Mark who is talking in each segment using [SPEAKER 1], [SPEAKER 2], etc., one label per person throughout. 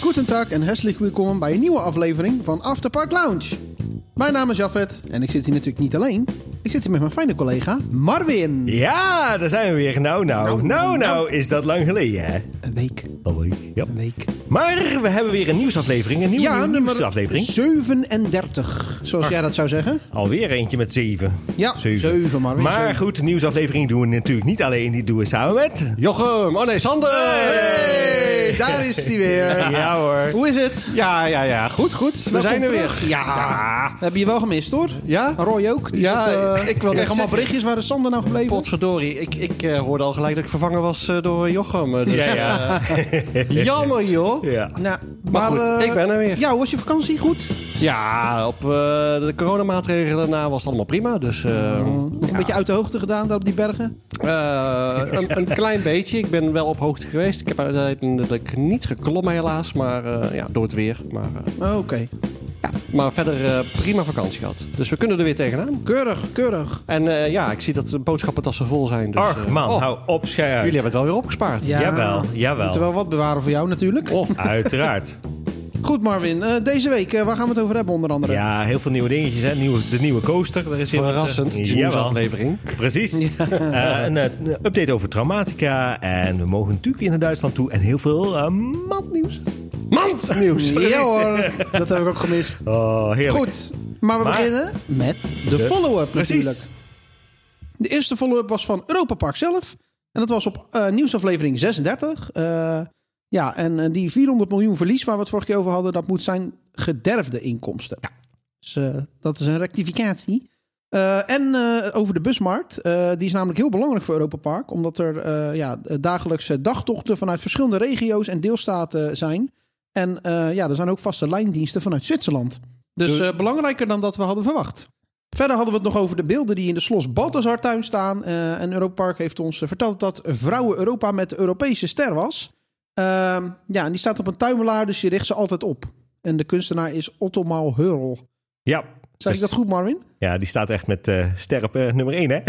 [SPEAKER 1] Goedendag en herzlich welkom bij een nieuwe aflevering van Afterpark Lounge. Mijn naam is Jafet en ik zit hier natuurlijk niet alleen. Ik zit hier met mijn fijne collega Marvin.
[SPEAKER 2] Ja, daar zijn we weer. Nou, nou, nou, nou, is dat lang geleden, hè?
[SPEAKER 1] Een week,
[SPEAKER 2] Alweer, ja.
[SPEAKER 1] een week.
[SPEAKER 2] Maar we hebben weer een nieuwsaflevering, een nieuwe
[SPEAKER 1] Ja,
[SPEAKER 2] nieuw-
[SPEAKER 1] nummer
[SPEAKER 2] nieuwsaflevering.
[SPEAKER 1] 37, zoals jij dat zou zeggen.
[SPEAKER 2] Alweer eentje met zeven.
[SPEAKER 1] Ja, zeven, maar weer zeven.
[SPEAKER 2] goed, de nieuwsaflevering doen we natuurlijk niet alleen, die doen we samen met...
[SPEAKER 3] Jochem! Oh nee, Sander!
[SPEAKER 1] Hey, daar is hij weer.
[SPEAKER 2] Ja hoor.
[SPEAKER 1] Hoe is het?
[SPEAKER 3] Ja, ja, ja. Goed, goed. We zijn er weer.
[SPEAKER 1] Ja. We hebben je wel gemist hoor.
[SPEAKER 3] Ja?
[SPEAKER 1] Roy ook. Die
[SPEAKER 3] Ja,
[SPEAKER 1] zit, eh,
[SPEAKER 3] ik- ik
[SPEAKER 1] kreeg
[SPEAKER 3] wou net
[SPEAKER 1] allemaal
[SPEAKER 3] zeggen.
[SPEAKER 1] berichtjes waar is Sander nou gebleven?
[SPEAKER 3] Potverdorie. Ik, ik eh, hoorde al gelijk dat ik vervangen was eh, door eh, Jochem. eh, Dus,
[SPEAKER 2] Ja, ja.
[SPEAKER 3] eh, jammer, joh. Ja,
[SPEAKER 2] ja.
[SPEAKER 1] Nou, maar,
[SPEAKER 3] goed,
[SPEAKER 1] eh,
[SPEAKER 3] ik ben er weer.
[SPEAKER 1] Ja, hoe was je vakantie? Goed?
[SPEAKER 3] op eh, de coronamaatregelen daarna was het allemaal prima. Dus eh,
[SPEAKER 1] Nog een beetje uit de hoogte gedaan daar op die bergen?
[SPEAKER 3] eh, een, een klein beetje. Ik ben wel op hoogte geweest. Ik heb uiteindelijk niet geklommen helaas. Maar eh, ja, door het weer. Maar, eh,
[SPEAKER 1] Oh, Oké.
[SPEAKER 3] maar verder eh, prima vakantie gehad. Dus we kunnen er weer tegenaan.
[SPEAKER 1] Keurig, keurig.
[SPEAKER 3] En eh, ja, ik zie dat de boodschappentassen vol zijn. Dus,
[SPEAKER 2] Ach
[SPEAKER 3] eh,
[SPEAKER 2] man,
[SPEAKER 3] oh,
[SPEAKER 2] hou op scherp.
[SPEAKER 3] Jullie hebben het wel weer opgespaard.
[SPEAKER 1] Ja.
[SPEAKER 2] Jawel, jawel.
[SPEAKER 1] Moeten we wel wat bewaren voor jou natuurlijk.
[SPEAKER 3] Oh,
[SPEAKER 2] Uiteraard.
[SPEAKER 1] Goed Marvin, eh, deze week, eh, waar gaan we het over hebben onder andere?
[SPEAKER 2] Ja, heel veel nieuwe dingetjes, hè. Nieuwe, de nieuwe coaster. Daar is weer wat, eh,
[SPEAKER 3] verrassend. Het is een
[SPEAKER 2] Jawel.
[SPEAKER 3] nieuwsaflevering.
[SPEAKER 2] Precies. Eh, een, eh, een update over traumatica. En we mogen natuurlijk weer naar Duitsland toe. En heel veel eh, matnieuws.
[SPEAKER 3] Mand nieuws.
[SPEAKER 1] Ja hoor, dat heb ik ook gemist.
[SPEAKER 2] Oh, heerlijk.
[SPEAKER 1] Goed, maar we
[SPEAKER 2] Maar-
[SPEAKER 1] beginnen met de follow-up
[SPEAKER 2] Precies.
[SPEAKER 1] natuurlijk. De eerste follow-up was van Europa Park zelf. En dat was op eh, nieuwsaflevering 36. Eh, ja, en eh, die 400 miljoen verlies waar we het vorige keer over hadden... dat moet zijn gederfde inkomsten. Dus eh, dat is een rectificatie. Eh, en eh, over de busmarkt. Eh, die is namelijk heel belangrijk voor Europa Park. Omdat er eh, ja, dagelijkse dagtochten vanuit verschillende regio's en deelstaten zijn. En eh, ja, er zijn ook vaste lijndiensten vanuit Zwitserland. Dus eh, belangrijker dan dat we hadden verwacht. Verder hadden we het nog over de beelden die in de Slos Balthazartuin staan. Eh, en Europa Park heeft ons eh, verteld dat Vrouwen Europa met de Europese ster was. Ehm, ja, en die staat op een tuimelaar, dus je richt ze altijd op. En de kunstenaar is Otto Maal Heurl.
[SPEAKER 2] Ja.
[SPEAKER 1] Zeg ik dat goed, Marvin?
[SPEAKER 2] Ja, die staat echt met eh ster op eh, nummer 1, hè?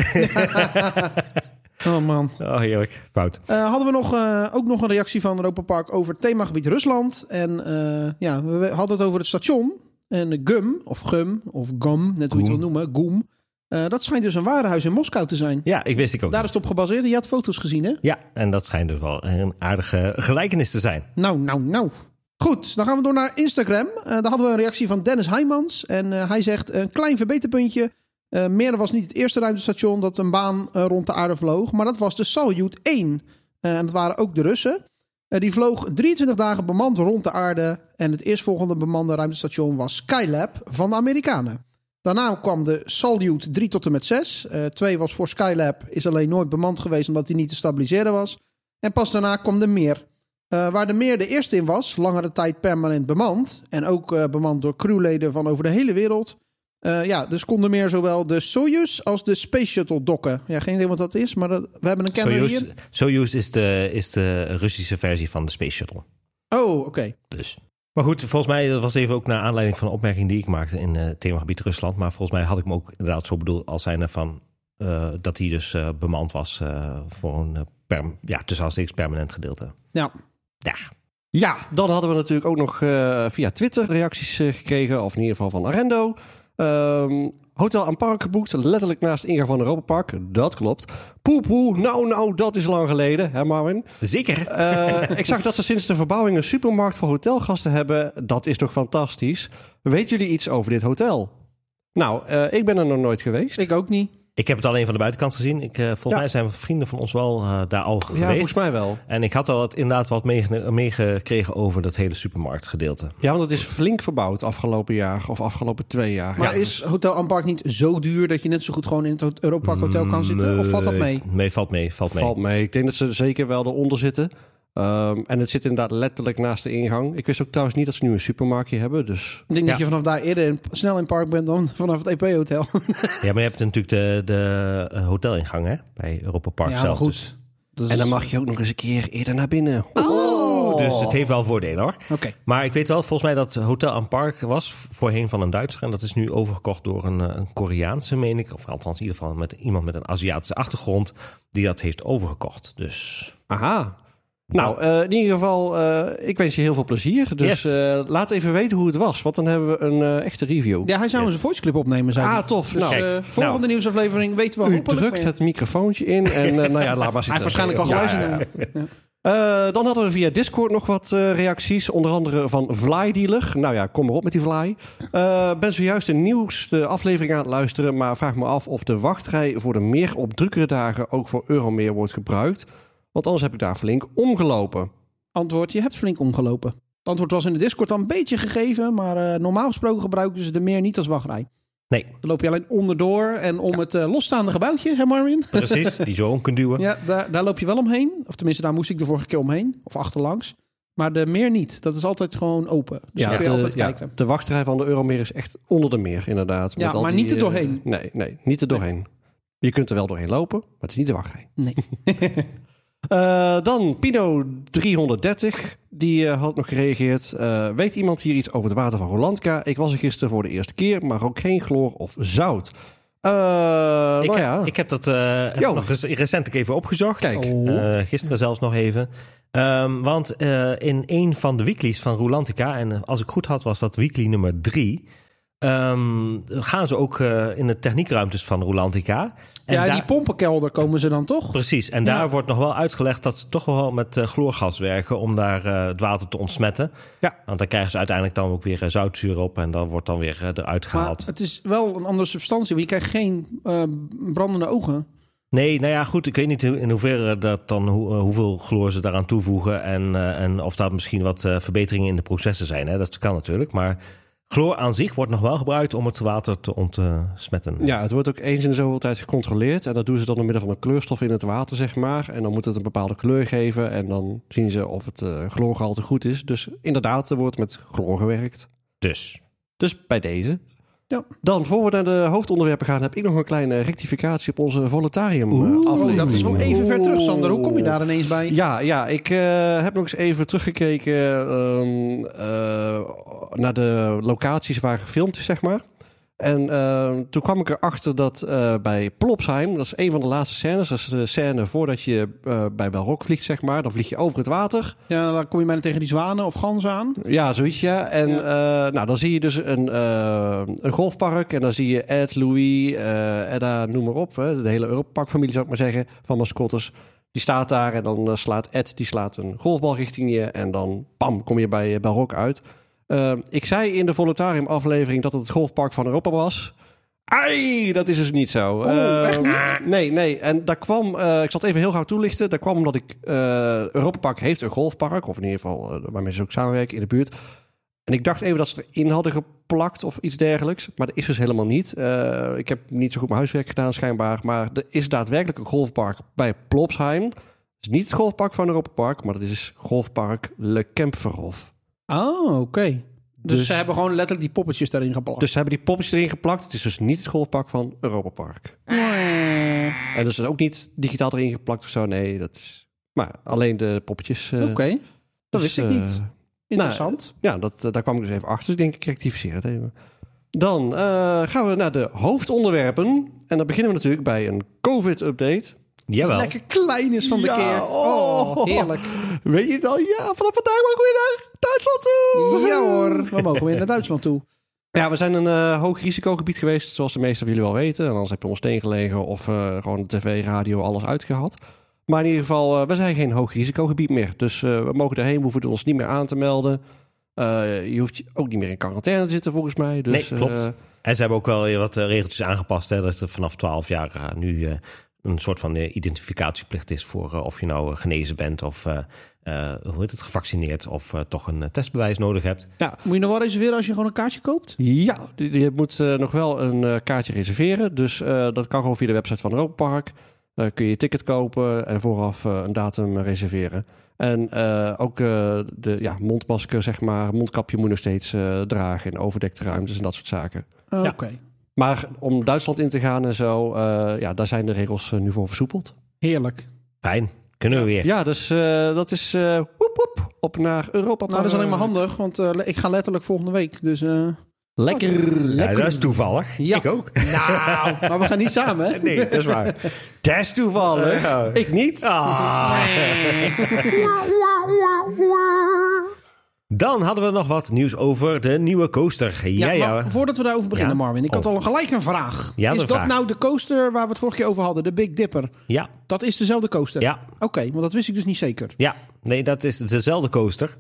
[SPEAKER 1] Oh man.
[SPEAKER 2] Oh, heerlijk. Fout.
[SPEAKER 1] Eh, hadden we nog, eh, ook nog een reactie van Europa Park over het themagebied Rusland. En eh, ja, we hadden het over het station. En de Gum, of Gum, of Gum, net hoe je het wil noemen, Gum. Eh, dat schijnt dus een warenhuis in Moskou te zijn.
[SPEAKER 2] Ja, ik wist ik ook.
[SPEAKER 1] Daar is het op gebaseerd. Je had foto's gezien, hè?
[SPEAKER 2] Ja, en dat schijnt dus wel een aardige gelijkenis te zijn.
[SPEAKER 1] Nou, nou, nou. Goed, dan gaan we door naar Instagram. Eh, daar hadden we een reactie van Dennis Heijmans. En eh, hij zegt, een klein verbeterpuntje. Eh Meer was niet het eerste ruimtestation dat een baan eh, rond de aarde vloog. Maar dat was de Salyut 1. Eh, en dat waren ook de Russen. Eh, die vloog 23 dagen bemand rond de aarde. En het eerstvolgende bemande ruimtestation was Skylab van de Amerikanen. Daarna kwam de Salyut 3 tot en met 6. Eh 2 was voor Skylab, is alleen nooit bemand geweest omdat hij niet te stabiliseren was. En pas daarna kwam de Meer. Eh, waar de meer de eerste in was, langere tijd permanent bemand. En ook eh, bemand door crewleden van over de hele wereld. Eh, ja, dus konden meer zowel de Soyuz als de Space Shuttle dokken. Ja, geen idee wat dat is, maar dat- we hebben een kenner
[SPEAKER 2] Soyuz,
[SPEAKER 1] hier.
[SPEAKER 2] Soyuz is, de, is de Russische versie van de Space Shuttle.
[SPEAKER 1] Oh, oké.
[SPEAKER 2] Dus. Maar goed, volgens mij dat was even ook naar aanleiding van een opmerking die ik maakte in eh, het themagebied Rusland. Maar volgens mij had ik hem ook inderdaad zo bedoeld als zijnde van eh, dat hij dus eh, bemand was eh, voor een eh, perm, ja, tussen aanstekens permanent gedeelte.
[SPEAKER 1] Ja,
[SPEAKER 2] Ja,
[SPEAKER 3] Ja, dan hadden we natuurlijk ook nog eh, via Twitter reacties eh, gekregen. Of in ieder geval van Arendo. Ehm, hotel aan park geboekt. Letterlijk naast de ingang van Europa Park. Dat klopt. Poepoe, nou nou, dat is lang geleden. Hè Marvin?
[SPEAKER 2] zeker.
[SPEAKER 3] Eh, ik zag dat ze sinds de verbouwing een supermarkt voor hotelgasten hebben. Dat is toch fantastisch. Weet jullie iets over dit hotel? Nou, eh, ik ben er nog nooit geweest.
[SPEAKER 1] ik ook niet.
[SPEAKER 2] Ik heb het alleen van de buitenkant gezien. Ik, eh, volgens
[SPEAKER 3] Ja.
[SPEAKER 2] mij zijn vrienden van ons wel eh, daar al
[SPEAKER 3] ja,
[SPEAKER 2] geweest.
[SPEAKER 3] volgens mij wel.
[SPEAKER 2] En ik had al wat, inderdaad wat meege- meegekregen over dat hele supermarktgedeelte.
[SPEAKER 3] Ja, want het is flink verbouwd afgelopen jaar of afgelopen twee jaar.
[SPEAKER 1] Maar
[SPEAKER 3] Ja.
[SPEAKER 1] is Hotel Ampark niet zo duur dat je net zo goed gewoon in het ho- Europa Park Hotel
[SPEAKER 3] Mm,
[SPEAKER 1] kan zitten? Of valt dat mee?
[SPEAKER 2] Eh, Nee, valt mee, valt mee.
[SPEAKER 3] Valt mee. Ik denk dat ze zeker wel eronder zitten. Ehm, en het zit inderdaad letterlijk naast de ingang. Ik wist ook trouwens niet dat ze nu een supermarktje hebben. Dus
[SPEAKER 1] Ik denk
[SPEAKER 2] Ja.
[SPEAKER 1] dat je vanaf daar eerder in- snel in park bent dan vanaf het E EP-hotel.
[SPEAKER 2] Ja, maar je hebt natuurlijk de, de eh, hotelingang hè? bij Europa Park
[SPEAKER 1] Ja, maar
[SPEAKER 2] zelf.
[SPEAKER 1] goed.
[SPEAKER 2] Dus,
[SPEAKER 1] Dat is-
[SPEAKER 3] En dan mag je ook nog eens een keer eerder naar binnen. Oh!
[SPEAKER 2] dus het heeft wel voordelen hoor.
[SPEAKER 1] Oh! Oké.
[SPEAKER 2] Maar ik weet wel, volgens mij dat Hotel aan Park was voorheen van een Duitser. En dat is nu overgekocht door een, eh, een Koreaanse, meen ik. Of althans in ieder geval met iemand met een Aziatische achtergrond die dat heeft overgekocht. Dus
[SPEAKER 3] Aha. Nou, eh, in ieder geval, eh, ik wens je heel veel plezier. Dus
[SPEAKER 2] Yes.
[SPEAKER 3] eh, laat even weten hoe het was, want dan hebben we een eh, echte review.
[SPEAKER 1] Ja, hij zou
[SPEAKER 2] Yes.
[SPEAKER 1] eens een voice clip opnemen, zei hij.
[SPEAKER 3] Ah, tof.
[SPEAKER 1] Dus
[SPEAKER 3] Nou,
[SPEAKER 1] eh,
[SPEAKER 2] kijk,
[SPEAKER 1] volgende
[SPEAKER 2] nou.
[SPEAKER 1] nieuwsaflevering weten we
[SPEAKER 3] U
[SPEAKER 1] hopelijk
[SPEAKER 3] drukt
[SPEAKER 1] meer.
[SPEAKER 3] het microfoontje in en eh, nou ja, laat
[SPEAKER 1] Hij
[SPEAKER 3] maar zitten.
[SPEAKER 1] heeft waarschijnlijk al
[SPEAKER 3] Ja,
[SPEAKER 1] geluisterd.
[SPEAKER 3] ja, ja.
[SPEAKER 1] naar-
[SPEAKER 3] Eh, dan hadden we via Discord nog wat eh, reacties. Onder andere van Vlaaidealer. Nou ja, kom maar op met die Vlaai. Eh, ben zojuist de nieuwste aflevering aan het luisteren... maar vraag me af of de wachtrij voor de meer op drukkere dagen... ook voor Euromeer wordt gebruikt. Want anders heb ik daar flink omgelopen.
[SPEAKER 1] Antwoord, je hebt flink omgelopen. Het antwoord was in de Discord al een beetje gegeven, maar eh, normaal gesproken gebruiken ze de meer niet als wachtrij.
[SPEAKER 2] Nee.
[SPEAKER 1] Dan loop je alleen onderdoor en om het eh, losstaande gebouwtje, hè Marvin?
[SPEAKER 2] Precies, die zo om kunt duwen.
[SPEAKER 1] Ja, daar, daar loop je wel omheen. Of tenminste, daar moest ik de vorige keer omheen. Of achterlangs. Maar de meer niet. Dat is altijd gewoon open. Dus daar kun je
[SPEAKER 3] de,
[SPEAKER 1] altijd
[SPEAKER 3] ja,
[SPEAKER 1] kijken.
[SPEAKER 3] de wachtrij van de Euromeer is echt onder de meer, inderdaad.
[SPEAKER 1] Ja,
[SPEAKER 3] al
[SPEAKER 1] maar niet er
[SPEAKER 3] eh,
[SPEAKER 1] doorheen.
[SPEAKER 3] nee, nee, niet er doorheen. Je kunt er wel doorheen lopen, maar het is niet de wachtrij.
[SPEAKER 1] Nee.
[SPEAKER 3] Eh, dan Pino330, die eh, had nog gereageerd. Eh, weet iemand hier iets over het water van Rolandka? Ik was er gisteren voor de eerste keer, maar ook geen chloor of zout. Eh
[SPEAKER 2] Ik,
[SPEAKER 3] nou
[SPEAKER 2] heb-
[SPEAKER 3] ja,
[SPEAKER 2] ik heb dat eh, even
[SPEAKER 3] Yo.
[SPEAKER 2] nog eens- recentelijk even opgezocht.
[SPEAKER 3] Kijk.
[SPEAKER 2] Oh. Eh, gisteren zelfs nog even. Ehm, want eh, in een van de weeklies van Rulantica, en eh, als ik goed had, was dat weekly nummer drie. ehm, gaan ze ook eh, in de techniekruimtes van Rulantica. En
[SPEAKER 1] ja,
[SPEAKER 2] daar-
[SPEAKER 1] die pompenkelder komen ze dan toch?
[SPEAKER 2] Precies, en daar wordt nog wel uitgelegd dat ze toch wel met eh, chloorgas werken om daar eh, het water te ontsmetten.
[SPEAKER 3] Ja.
[SPEAKER 2] Want daar krijgen ze uiteindelijk dan ook weer eh, zoutzuur op en dan wordt dan weer eh, eruit
[SPEAKER 1] Maar
[SPEAKER 2] gehaald.
[SPEAKER 1] het is wel een andere substantie. want Je krijgt geen eh, brandende ogen.
[SPEAKER 2] Nee, nou ja, goed. Ik weet niet hoe- in hoeverre dat dan hoe- eh, hoeveel chloor ze daaraan toevoegen. En, eh, en of daar misschien wat eh, verbeteringen in de processen zijn. Hè? Dat kan natuurlijk. Maar chloor aan zich wordt nog wel gebruikt om het water te ontsmetten.
[SPEAKER 3] ja, het wordt ook eens in de zoveel tijd gecontroleerd. En dat doen ze dan door middel van een kleurstof in het water, zeg maar. En dan moet het een bepaalde kleur geven. En dan zien ze of het eh chloorgehalte goed is. Dus inderdaad, er wordt met chloor gewerkt.
[SPEAKER 2] Dus
[SPEAKER 3] Dus bij deze.
[SPEAKER 1] Ja.
[SPEAKER 3] Dan, voor we naar de hoofdonderwerpen gaan, heb ik nog een kleine rectificatie op onze Voletarium eh,
[SPEAKER 1] Oh,
[SPEAKER 3] aflevering.
[SPEAKER 1] dat is wel even ver terug, Sander. Hoe kom je
[SPEAKER 3] Oeh.
[SPEAKER 1] daar ineens bij?
[SPEAKER 3] Oh. Ja, ja ik eh, heb nog eens even teruggekeken ehm, eh, naar de locaties waar gefilmd is, zeg maar. En ehm, toen kwam ik erachter dat eh, bij Plopsheim, dat is een van de laatste scènes, dat is de scène voordat je eh, bij Belrock vliegt, zeg maar. Dan vlieg je over het water.
[SPEAKER 1] Ja, dan kom je bijna tegen die zwanen of ganzen aan.
[SPEAKER 3] Ja, zoiets, ja. En eh, nou, dan zie je dus een, eh, een golfpark. En dan zie je Ed, Louis, eh Edda, noem maar op. Hè, de hele Europarkfamilie, zou ik maar zeggen, van mascottes. Die staat daar en dan eh, slaat Ed die slaat een golfbal richting je. En dan, pam, kom je bij eh, Barok uit. Eh, ik zei in de Voletarium-aflevering dat het het golfpark van Europa was. Ai, dat is dus niet zo.
[SPEAKER 1] Oh, echt
[SPEAKER 3] Eh, Nee, nee. En daar kwam, eh, ik zal het even heel gauw toelichten. Daar kwam omdat ik, eh Europa Park heeft een golfpark, of in ieder geval eh, waarmee ze ook samenwerken in de buurt. En ik dacht even dat ze het erin hadden geplakt of iets dergelijks. Maar dat is dus helemaal niet. Eh, ik heb niet zo goed mijn huiswerk gedaan schijnbaar. Maar er is daadwerkelijk een golfpark bij Plopsheim. Het is niet het golfpark van Europa Park, maar dat is golfpark Le Kempferhof.
[SPEAKER 1] Oh, oké. Dus,
[SPEAKER 3] Dus-
[SPEAKER 1] ze hebben gewoon letterlijk die poppetjes daarin geplakt.
[SPEAKER 3] Dus ze hebben die poppetjes erin geplakt. Het is dus niet het golfpark van Europa Park. En dus het is ook niet digitaal erin geplakt of zo. Nee, dat is... Maar alleen de poppetjes. eh,
[SPEAKER 1] oké, dat
[SPEAKER 3] dus,
[SPEAKER 1] wist ik
[SPEAKER 3] eh,
[SPEAKER 1] niet. Interessant.
[SPEAKER 3] ja, dat, eh, daar kwam ik dus even achter. Dus ik denk, ik rectificeer het even. Dan eh, gaan we naar de hoofdonderwerpen. En dan beginnen we natuurlijk bij een COVID-update.
[SPEAKER 2] jawel.
[SPEAKER 1] Lekker klein is van de
[SPEAKER 3] Ja,
[SPEAKER 1] keer.
[SPEAKER 3] oh.
[SPEAKER 1] Oh, heerlijk.
[SPEAKER 3] Weet je het al? Ja, vanaf vandaag mogen we naar Duitsland toe!
[SPEAKER 1] Ja hoor, we mogen weer naar Duitsland toe.
[SPEAKER 3] Ja, we zijn een eh, hoog risicogebied geweest, zoals de meesten van jullie wel weten. En anders heb je ons steen gelegen of eh, gewoon de tv, radio, alles uitgehad. Maar in ieder geval, eh, we zijn geen hoog risicogebied meer. Dus eh, we mogen daarheen, we hoeven ons niet meer aan te melden. Eh, je hoeft je ook niet meer in quarantaine te zitten, volgens mij. Dus,
[SPEAKER 2] nee, klopt.
[SPEAKER 3] eh,
[SPEAKER 2] en ze hebben ook wel weer wat eh, regeltjes aangepast. Hè, dat er vanaf 12 jaar eh, nu eh, een soort van eh, identificatieplicht is voor eh, of je nou eh, genezen bent of eh, eh, hoe heet het, gevaccineerd of eh, toch een eh, testbewijs nodig hebt.
[SPEAKER 1] Moet je nog wel reserveren als je gewoon een kaartje koopt?
[SPEAKER 3] ja, je je moet eh, nog wel een eh, kaartje reserveren. Dus eh, dat kan gewoon via de website van Europa Park. Eh, kun je je ticket kopen en vooraf eh, een datum reserveren. En eh, ook eh, de ja, mondmasker, zeg maar, mondkapje moet nog steeds eh, dragen in overdekte ruimtes en dat soort zaken.
[SPEAKER 1] Oh,
[SPEAKER 2] Ja.
[SPEAKER 1] Oké,
[SPEAKER 3] Maar om Duitsland in te gaan en zo, eh, ja, daar zijn de regels eh, nu voor versoepeld.
[SPEAKER 1] heerlijk.
[SPEAKER 2] Fijn, kunnen we weer.
[SPEAKER 3] Ja, dus eh, dat is eh, woep woep op naar Europa.
[SPEAKER 1] Nou, dat is alleen maar handig, want eh, ik ga letterlijk volgende week. Dus eh,
[SPEAKER 3] Lekker.
[SPEAKER 2] Ja, dat is toevallig.
[SPEAKER 1] Ja.
[SPEAKER 2] Ik ook.
[SPEAKER 1] Nou, maar we gaan niet samen, hè?
[SPEAKER 2] Nee, dat is waar.
[SPEAKER 3] Dat is toevallig.
[SPEAKER 2] Ja.
[SPEAKER 3] Ik niet.
[SPEAKER 2] Ah. Dan hadden we nog wat nieuws over de nieuwe coaster. Ja,
[SPEAKER 1] Ja,
[SPEAKER 2] ja.
[SPEAKER 1] maar voordat we daarover beginnen,
[SPEAKER 2] Ja.
[SPEAKER 1] Marvin, ik had
[SPEAKER 2] Oh.
[SPEAKER 1] al gelijk een vraag.
[SPEAKER 2] Ja,
[SPEAKER 1] is
[SPEAKER 2] de
[SPEAKER 1] dat
[SPEAKER 2] vraag.
[SPEAKER 1] nou de coaster waar we het vorige keer over hadden, de Big Dipper?
[SPEAKER 2] ja,
[SPEAKER 1] Dat is dezelfde coaster?
[SPEAKER 2] Ja.
[SPEAKER 1] Oké, want dat wist ik dus niet zeker.
[SPEAKER 2] ja. Nee, dat is dezelfde coaster.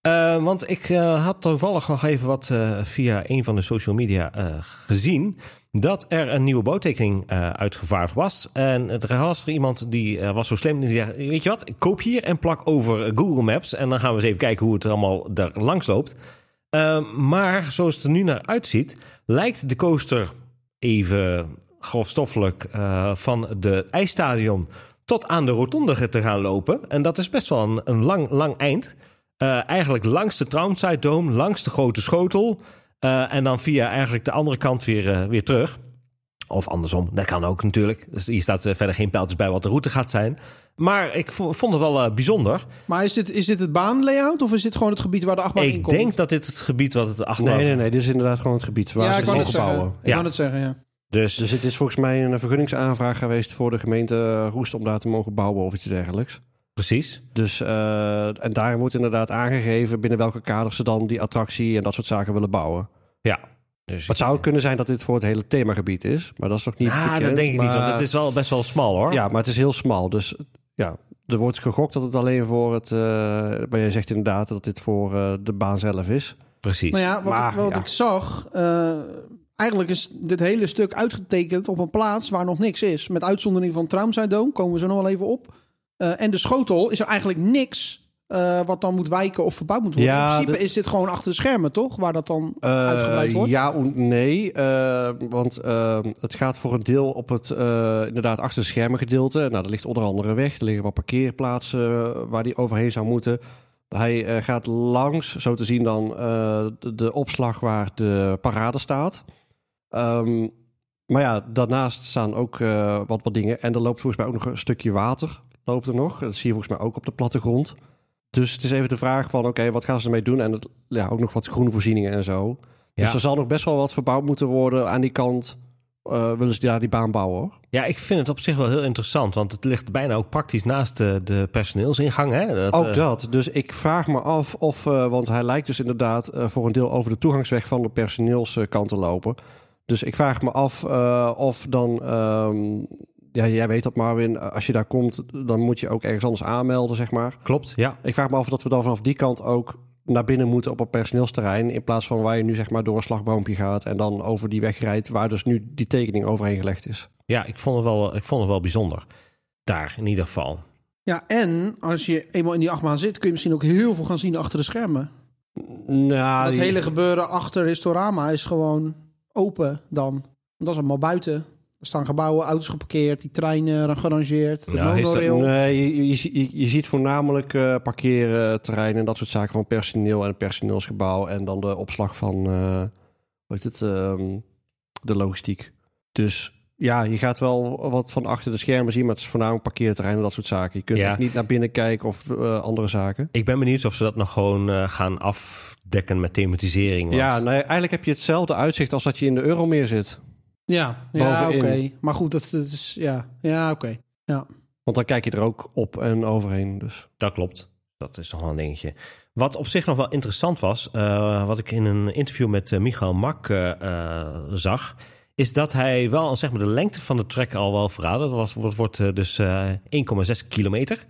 [SPEAKER 2] Eh, want ik eh, had toevallig nog even wat eh, via een van de social media eh, gezien. Dat er een nieuwe bouwtekening eh, uitgevaardigd was. En er was er iemand die eh, was zo slim. Die zei: Weet je wat, ik koop hier en plak over Google Maps. En dan gaan we eens even kijken hoe het allemaal daar langs loopt. Eh, maar zoals het er nu naar uitziet, lijkt de coaster even grofstoffelijk eh, van de ijsstadion tot aan de rotonde te gaan lopen. En dat is best wel een, een lang, lang eind. Eh, eigenlijk langs de Townside Dome, langs de grote schotel. eh, en dan via eigenlijk de andere kant weer, eh, weer terug. Of andersom, dat kan ook natuurlijk. Dus hier staat eh, verder geen pijltjes bij wat de route gaat zijn. Maar ik vo- vond het wel eh, bijzonder.
[SPEAKER 1] Maar is dit, is dit het baanlayout of is dit gewoon het gebied waar de achtbaan in
[SPEAKER 2] ik
[SPEAKER 1] komt?
[SPEAKER 2] denk dat dit het gebied wat het achterlaat.
[SPEAKER 3] Nee, nee, nee. Dit is inderdaad gewoon het gebied waar
[SPEAKER 1] ja,
[SPEAKER 3] ze
[SPEAKER 1] ik
[SPEAKER 3] het
[SPEAKER 1] kan het
[SPEAKER 3] mogen
[SPEAKER 1] zeggen.
[SPEAKER 3] bouwen.
[SPEAKER 1] Ik
[SPEAKER 2] Ja.
[SPEAKER 1] kan het zeggen, ja.
[SPEAKER 2] Dus
[SPEAKER 3] Dus het is volgens mij een vergunningsaanvraag geweest voor de gemeente Roest om daar te mogen bouwen of iets dergelijks.
[SPEAKER 2] precies.
[SPEAKER 3] Dus, eh, en daarin wordt inderdaad aangegeven binnen welke kaders ze dan die attractie en dat soort zaken willen bouwen.
[SPEAKER 2] Ja. Dus
[SPEAKER 3] Het zou kunnen zijn dat dit voor het hele themagebied is, maar dat is nog niet
[SPEAKER 2] Ah,
[SPEAKER 3] bekend.
[SPEAKER 2] dat denk ik niet, want
[SPEAKER 3] maar-
[SPEAKER 2] het is wel best wel smal hoor.
[SPEAKER 3] Ja, maar het is heel smal. Dus ja, er wordt gegokt dat het alleen voor het... eh, maar jij zegt inderdaad dat dit voor eh, de baan zelf is.
[SPEAKER 2] precies.
[SPEAKER 1] Maar ja, wat,
[SPEAKER 3] Maar,
[SPEAKER 1] ik, wat
[SPEAKER 3] ja.
[SPEAKER 1] ik zag, eh, eigenlijk is dit hele stuk uitgetekend op een plaats waar nog niks is. Met uitzondering van Traumside Dome, komen we zo nog wel even op. Eh, en de schotel is er eigenlijk niks eh, wat dan moet wijken of verbouwd moet worden.
[SPEAKER 3] Ja,
[SPEAKER 1] In principe
[SPEAKER 3] de-
[SPEAKER 1] is dit gewoon achter de schermen, toch? Waar dat dan
[SPEAKER 3] Eh,
[SPEAKER 1] uitgebreid wordt.
[SPEAKER 3] Ja en nee. eh, want eh, het gaat voor een deel op het eh, inderdaad achter de schermen gedeelte. Nou, dat ligt onder andere weg. Er liggen wat parkeerplaatsen eh, waar die overheen zou moeten. Hij eh, gaat langs, zo te zien dan, eh, de, de opslag waar de parade staat. Ehm, maar ja, daarnaast staan ook eh, wat, wat dingen. En er loopt volgens mij ook nog een stukje water. Loopt er nog. Dat zie je volgens mij ook op de plattegrond. Dus het is even de vraag van, oké, wat gaan ze ermee doen? En het, ja, ook nog wat groenvoorzieningen en zo.
[SPEAKER 2] Ja.
[SPEAKER 3] Dus er zal nog best wel wat verbouwd moeten worden aan die kant. eh, willen ze daar die baan bouwen hoor.
[SPEAKER 2] Ja, ik vind het op zich wel heel interessant, want het ligt bijna ook praktisch naast de, de personeelsingang. Hè? Dat,
[SPEAKER 3] Ook
[SPEAKER 2] eh,
[SPEAKER 3] dat. Dus ik vraag me af of... eh, want hij lijkt dus inderdaad eh, voor een deel over de toegangsweg van de personeelskant te lopen. Dus ik vraag me af eh, of dan... ehm, ja, jij weet dat Marvin. eh, Als je daar komt, dan moet je ook ergens anders aanmelden, zeg maar.
[SPEAKER 2] Klopt, ja.
[SPEAKER 3] Ik vraag me af dat we dan vanaf die kant ook naar binnen moeten op het personeelsterrein. In plaats van waar je nu zeg maar door een slagboompje gaat en dan over die weg rijdt waar dus nu die tekening overheen gelegd is.
[SPEAKER 2] Ja, ik vond het wel, eh, ik vond het wel bijzonder. Daar in ieder geval.
[SPEAKER 1] Ja, en als je eenmaal in die achtbaan zit, kun je misschien ook heel veel gaan zien achter de schermen.
[SPEAKER 3] Nou,
[SPEAKER 1] dat hele gebeuren achter Historama is gewoon open dan. Want dat is allemaal buiten. Er staan gebouwen, auto's geparkeerd, die treinen gerangeerd, de
[SPEAKER 2] Ja, Histo-
[SPEAKER 1] monorail.
[SPEAKER 3] Nee, je, je, je- je ziet voornamelijk eh parkeerterreinen en dat soort zaken van personeel en het personeelsgebouw. En dan de opslag van, eh hoe heet het, ehm, de logistiek. Dus ja, je gaat wel wat van achter de schermen zien, maar het is voornamelijk parkeerterrein en dat soort zaken. Je kunt
[SPEAKER 2] Ja.
[SPEAKER 3] echt niet naar binnen kijken of eh, andere zaken.
[SPEAKER 2] Ik ben benieuwd of ze dat nog gewoon eh, gaan afdekken met thematisering. want-
[SPEAKER 3] Ja, nou, ja, eigenlijk heb je hetzelfde uitzicht als dat je in de Euromeer zit.
[SPEAKER 1] Ja, ja oké.
[SPEAKER 3] Bovenin.
[SPEAKER 1] Maar goed, dat, dat is... Ja, ja oké.
[SPEAKER 3] Want dan kijk je er ook op en overheen. Dus.
[SPEAKER 2] Dat klopt. Dat is nog wel een dingetje. Wat op zich nog wel interessant was, eh, wat ik in een interview met eh, Michael Mak eh, eh, zag, is dat hij wel zeg maar, de lengte van de trek al wel verraadde. Dat was, wordt, wordt eh, dus eh, 1,6 kilometer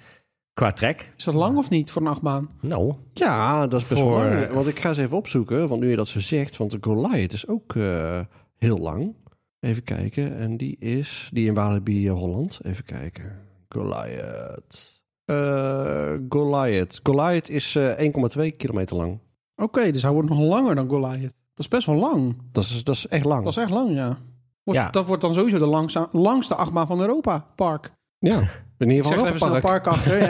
[SPEAKER 2] qua trek.
[SPEAKER 1] Is dat lang of niet voor een achtbaan?
[SPEAKER 2] Nou,
[SPEAKER 3] Ja, dat is best
[SPEAKER 2] Voor-
[SPEAKER 3] wel lang. Want ik ga eens even opzoeken, want nu je dat zo zegt. Want de Goliath is ook eh, heel lang. Even kijken. En die is, die in Walibi eh, Holland. Even kijken. Goliath. Eh, Goliath. Goliath is eh, 1,2 kilometer lang.
[SPEAKER 1] Oké, dus hij wordt nog langer dan Goliath. Dat is best wel lang.
[SPEAKER 3] Dat is, dat is echt lang.
[SPEAKER 1] Dat is echt lang, ja. Wordt,
[SPEAKER 2] Ja.
[SPEAKER 1] Dat wordt dan sowieso de langza- langste achtbaan van Europa Park.
[SPEAKER 3] Ja, in ieder
[SPEAKER 1] Ik zeg
[SPEAKER 3] geval
[SPEAKER 1] er even snel
[SPEAKER 3] Europa Park.
[SPEAKER 1] park achter.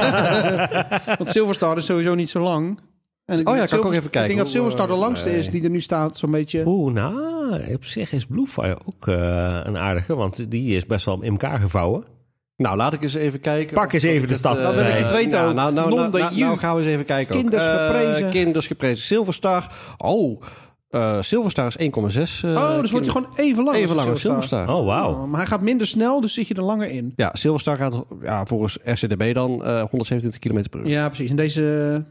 [SPEAKER 1] Ja. Want Silverstar is sowieso niet zo lang. En ik
[SPEAKER 3] Oh ja, kan
[SPEAKER 1] denk dat
[SPEAKER 3] ik ook
[SPEAKER 1] Silver-
[SPEAKER 3] even
[SPEAKER 1] Ik
[SPEAKER 3] kijken.
[SPEAKER 1] denk dat Silverstar de
[SPEAKER 3] Oeh,
[SPEAKER 1] langste
[SPEAKER 3] nee.
[SPEAKER 1] is die er nu staat, zo'n beetje.
[SPEAKER 2] oeh, nou, op zich is Bluefire ook eh, een aardige, want die is best wel in elkaar gevouwen.
[SPEAKER 3] Nou, laat ik eens even kijken.
[SPEAKER 2] Pak
[SPEAKER 3] of-
[SPEAKER 2] eens
[SPEAKER 3] of
[SPEAKER 2] even
[SPEAKER 3] ik
[SPEAKER 2] de
[SPEAKER 3] het,
[SPEAKER 2] stad
[SPEAKER 3] eh,
[SPEAKER 1] Dat wil ik het weten
[SPEAKER 3] nou,
[SPEAKER 1] ook.
[SPEAKER 3] Nou, nou, nou,
[SPEAKER 1] Londen,
[SPEAKER 3] nou,
[SPEAKER 1] you.
[SPEAKER 3] nou gaan we eens even kijken. ook.
[SPEAKER 1] Kinders
[SPEAKER 3] Eh,
[SPEAKER 1] geprezen.
[SPEAKER 3] kinders geprezen. Silverstar. Oh, eh Silverstar is 1,6.
[SPEAKER 1] oh, dus wordt hij gewoon even lang.
[SPEAKER 3] eh,
[SPEAKER 1] als
[SPEAKER 3] even lang
[SPEAKER 1] een
[SPEAKER 3] als Silverstar.
[SPEAKER 2] Oh, wauw.
[SPEAKER 1] Oh, maar hij gaat minder snel, dus zit je er langer in.
[SPEAKER 3] Ja, Silverstar gaat ja, volgens RCDB dan eh, 127 km per uur.
[SPEAKER 1] Ja, precies. En deze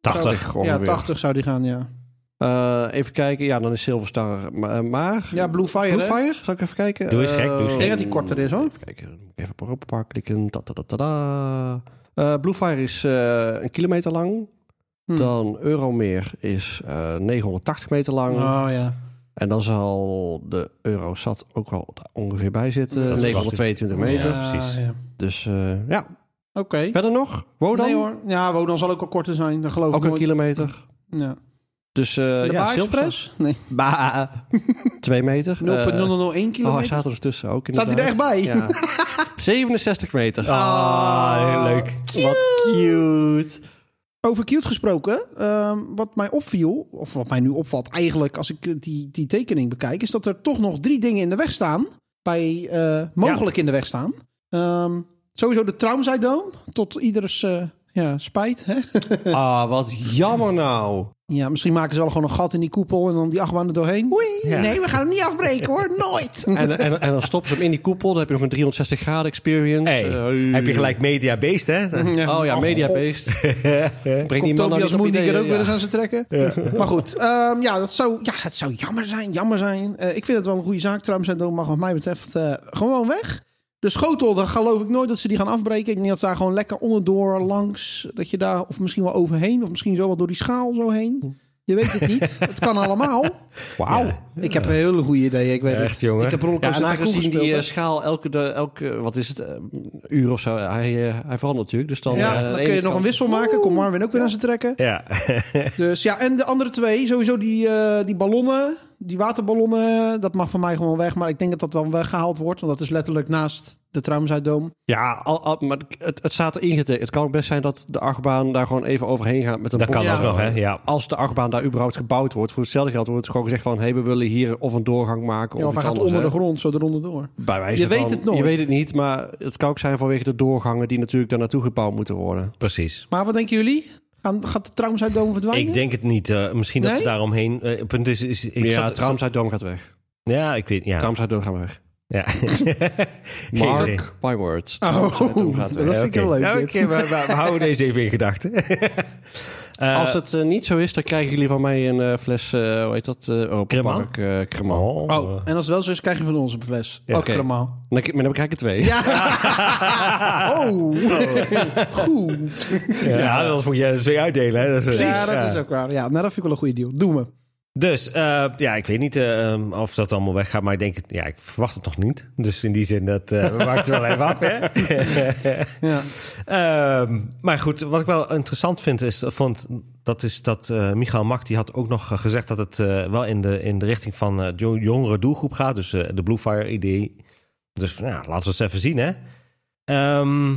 [SPEAKER 2] 80.
[SPEAKER 3] Gewoon
[SPEAKER 1] ja,
[SPEAKER 3] weer.
[SPEAKER 1] 80 zou die gaan, ja.
[SPEAKER 3] Eh, even kijken, ja, dan is Silverstar ma- eh, maar.
[SPEAKER 1] Ja, Blue Fire.
[SPEAKER 3] Blue
[SPEAKER 1] hè?
[SPEAKER 3] Fire, zal ik even kijken?
[SPEAKER 2] Doe eens gek, doe eens
[SPEAKER 3] Eh,
[SPEAKER 2] gek.
[SPEAKER 1] Ik denk dat die korter is, hoor.
[SPEAKER 3] Even kijken, dan moet ik even op Europa Park klikken. Ta -ta -ta -ta -ta. Eh, Blue Fire is eh, een kilometer lang.
[SPEAKER 1] Hm.
[SPEAKER 3] Dan Euromeer is eh, 980 meter lang.
[SPEAKER 1] Oh ja.
[SPEAKER 3] En dan zal de Eurosat ook wel daar ongeveer bij zitten.
[SPEAKER 2] Dat is
[SPEAKER 3] 922
[SPEAKER 2] wat-
[SPEAKER 3] meter.
[SPEAKER 1] Ja,
[SPEAKER 2] precies.
[SPEAKER 1] ja.
[SPEAKER 3] Dus eh, ja,
[SPEAKER 1] Oké.
[SPEAKER 3] verder nog. Eh, Wodan,
[SPEAKER 1] Nee hoor. Ja, Wodan zal ook al korter zijn. Dat geloof
[SPEAKER 3] ook
[SPEAKER 1] ik
[SPEAKER 3] een
[SPEAKER 1] nooit.
[SPEAKER 3] kilometer.
[SPEAKER 1] Ja.
[SPEAKER 3] Dus eh
[SPEAKER 1] De
[SPEAKER 3] ja,
[SPEAKER 1] Baar
[SPEAKER 3] Silverstar.
[SPEAKER 1] Express? Nee.
[SPEAKER 3] Bah, 2 meter. Eh,
[SPEAKER 1] 0,0001
[SPEAKER 3] Oh, hij
[SPEAKER 1] kilometer.
[SPEAKER 3] staat er tussen ook.
[SPEAKER 1] Staat hij er echt bij?
[SPEAKER 3] inderdaad. Ja. 67 meter.
[SPEAKER 2] Ah, heel leuk.
[SPEAKER 3] Wat cute.
[SPEAKER 1] Over cute gesproken, ehm, wat mij opviel, of wat mij nu opvalt eigenlijk als ik eh, die, die tekening bekijk, is dat er toch nog drie dingen in de weg staan. Bij eh, mogelijk in de weg staan. Ehm, sowieso de Traumzij Dome, tot ieders eh, ja, spijt. Hè?
[SPEAKER 3] Ah, wat jammer nou.
[SPEAKER 1] Ja, misschien maken ze wel gewoon een gat in die koepel en dan die achtbaan er doorheen. Oei,
[SPEAKER 2] Ja.
[SPEAKER 1] nee, we gaan hem niet afbreken hoor, nooit.
[SPEAKER 3] En, en, en dan stoppen ze hem in die koepel. Dan heb je nog een 360 graden experience.
[SPEAKER 2] Hey,
[SPEAKER 3] Eh,
[SPEAKER 2] heb je gelijk Media Beest, hè?
[SPEAKER 3] Oh ja,
[SPEAKER 1] Oh,
[SPEAKER 3] Media
[SPEAKER 1] God.
[SPEAKER 3] Beast. Breng die
[SPEAKER 1] Komt
[SPEAKER 3] man nou
[SPEAKER 1] Tobias
[SPEAKER 3] niet op
[SPEAKER 1] Moe die
[SPEAKER 3] ideeën,
[SPEAKER 1] er ook weer
[SPEAKER 3] ja.
[SPEAKER 1] eens aan ze trekken. Maar goed, ehm, ja, dat zou, ja, het zou jammer zijn, jammer zijn. Eh, ik vind het wel een goede zaak. Trouwens, en dat mag wat mij betreft eh, gewoon weg. De schotel, daar geloof ik nooit dat ze die gaan afbreken. Ik denk dat ze daar gewoon lekker onderdoor, langs. Dat je daar, of misschien wel overheen, of misschien zo wel door die schaal zo heen. Je weet het niet. het kan allemaal. Wauw.
[SPEAKER 2] Ja.
[SPEAKER 1] Ik heb een hele goede idee. Ik weet
[SPEAKER 2] Echt,
[SPEAKER 1] het.
[SPEAKER 2] jongen.
[SPEAKER 1] Ik heb
[SPEAKER 3] Ja,
[SPEAKER 1] rollercoaster
[SPEAKER 3] en
[SPEAKER 1] ja,
[SPEAKER 3] aangezien
[SPEAKER 1] gespeeld.
[SPEAKER 3] die eh,
[SPEAKER 1] hè.
[SPEAKER 3] schaal elke, de, elke, wat is het, eh, uur of zo, hij, eh, hij verandert natuurlijk. Dus dan, eh,
[SPEAKER 1] ja,
[SPEAKER 3] aan de
[SPEAKER 1] dan
[SPEAKER 3] ene
[SPEAKER 1] kun je nog een
[SPEAKER 3] kant-
[SPEAKER 1] wissel maken. Kom Marvin ook weer aan ze trekken.
[SPEAKER 2] Ja.
[SPEAKER 1] Dus ja, en de andere twee, sowieso die, eh, die ballonnen, die waterballonnen, dat mag van mij gewoon weg. Maar ik denk dat dat dan weggehaald wordt, want dat is letterlijk naast de Traumzuidoom.
[SPEAKER 3] Ja, al, al- maar het, het staat er ingetekend. Het kan ook best zijn dat de achtbaan daar gewoon even overheen gaat met een
[SPEAKER 2] Dat kan
[SPEAKER 3] bord.
[SPEAKER 2] ook nog, hè? Ja.
[SPEAKER 3] Als de achtbaan daar überhaupt gebouwd wordt, voor hetzelfde geld wordt gewoon gezegd van... hé, hey, we willen hier of een doorgang maken
[SPEAKER 1] Ja, of hij
[SPEAKER 3] of, iets
[SPEAKER 1] gaat
[SPEAKER 3] anders.
[SPEAKER 1] onder de
[SPEAKER 3] hè.
[SPEAKER 1] grond, zo eronder door.
[SPEAKER 3] Bij wijze
[SPEAKER 1] Je weet
[SPEAKER 3] van-
[SPEAKER 1] het nooit.
[SPEAKER 3] Je weet het niet, maar het kan ook zijn vanwege de doorgangen... die natuurlijk daar naartoe gebouwd moeten worden.
[SPEAKER 2] Precies.
[SPEAKER 1] Maar wat denken jullie? Gaan, gaat de Traumzuidoom verdwijnen?
[SPEAKER 2] Ik denk het niet. eh, misschien dat ze
[SPEAKER 1] Nee? daaromheen...
[SPEAKER 2] daaromheen... eh, het punt is, is, ik
[SPEAKER 3] ja,
[SPEAKER 2] zat-
[SPEAKER 3] Tramzuiddom gaat weg.
[SPEAKER 2] Ja, ik weet... Ja.
[SPEAKER 3] Tramzuiddom gaat weg.
[SPEAKER 2] ja. Geen idee.
[SPEAKER 3] Mark my words.
[SPEAKER 1] Oh,
[SPEAKER 3] Tramzuiddom gaat
[SPEAKER 1] dat
[SPEAKER 3] weg.
[SPEAKER 1] vind ik heel
[SPEAKER 2] Oké.
[SPEAKER 1] leuk.
[SPEAKER 2] Ja,
[SPEAKER 1] dit.
[SPEAKER 2] Oké, we, we- we houden deze even in gedachten. Eh,
[SPEAKER 3] Als het eh, niet zo is, dan krijgen jullie van mij een eh, fles, eh, hoe heet dat? eh Europa
[SPEAKER 2] Cremant?
[SPEAKER 3] Park eh, Cremant.
[SPEAKER 2] oh,
[SPEAKER 1] Oh, en als het wel zo is, krijg je van ons een fles.
[SPEAKER 2] Ja.
[SPEAKER 1] Oké. Allemaal.
[SPEAKER 3] Dan, k- maar dan krijg ik er twee.
[SPEAKER 1] Ja. oh. Goed.
[SPEAKER 2] ja, dat moet je twee uitdelen. Hè? Dat is, eh,
[SPEAKER 1] Ja, dat is ook waar. Ja, nou, dat vind ik wel een goede deal. Doe me.
[SPEAKER 2] Dus eh, ja, ik weet niet eh, um, of dat allemaal weggaat, maar ik denk, ja, ik verwacht het nog niet. Dus in die zin, dat eh we wachten wel even af. Hè?
[SPEAKER 1] Ja.
[SPEAKER 2] Ehm, maar goed, wat ik wel interessant vind, is, vond, dat, is dat eh Michael Mak die had ook nog eh, gezegd dat het eh, wel in de, in de richting van eh, de jongere doelgroep gaat. Dus eh, de Blue Fire idee. Dus nou, ja, laten we het eens even zien, hè. Ehm,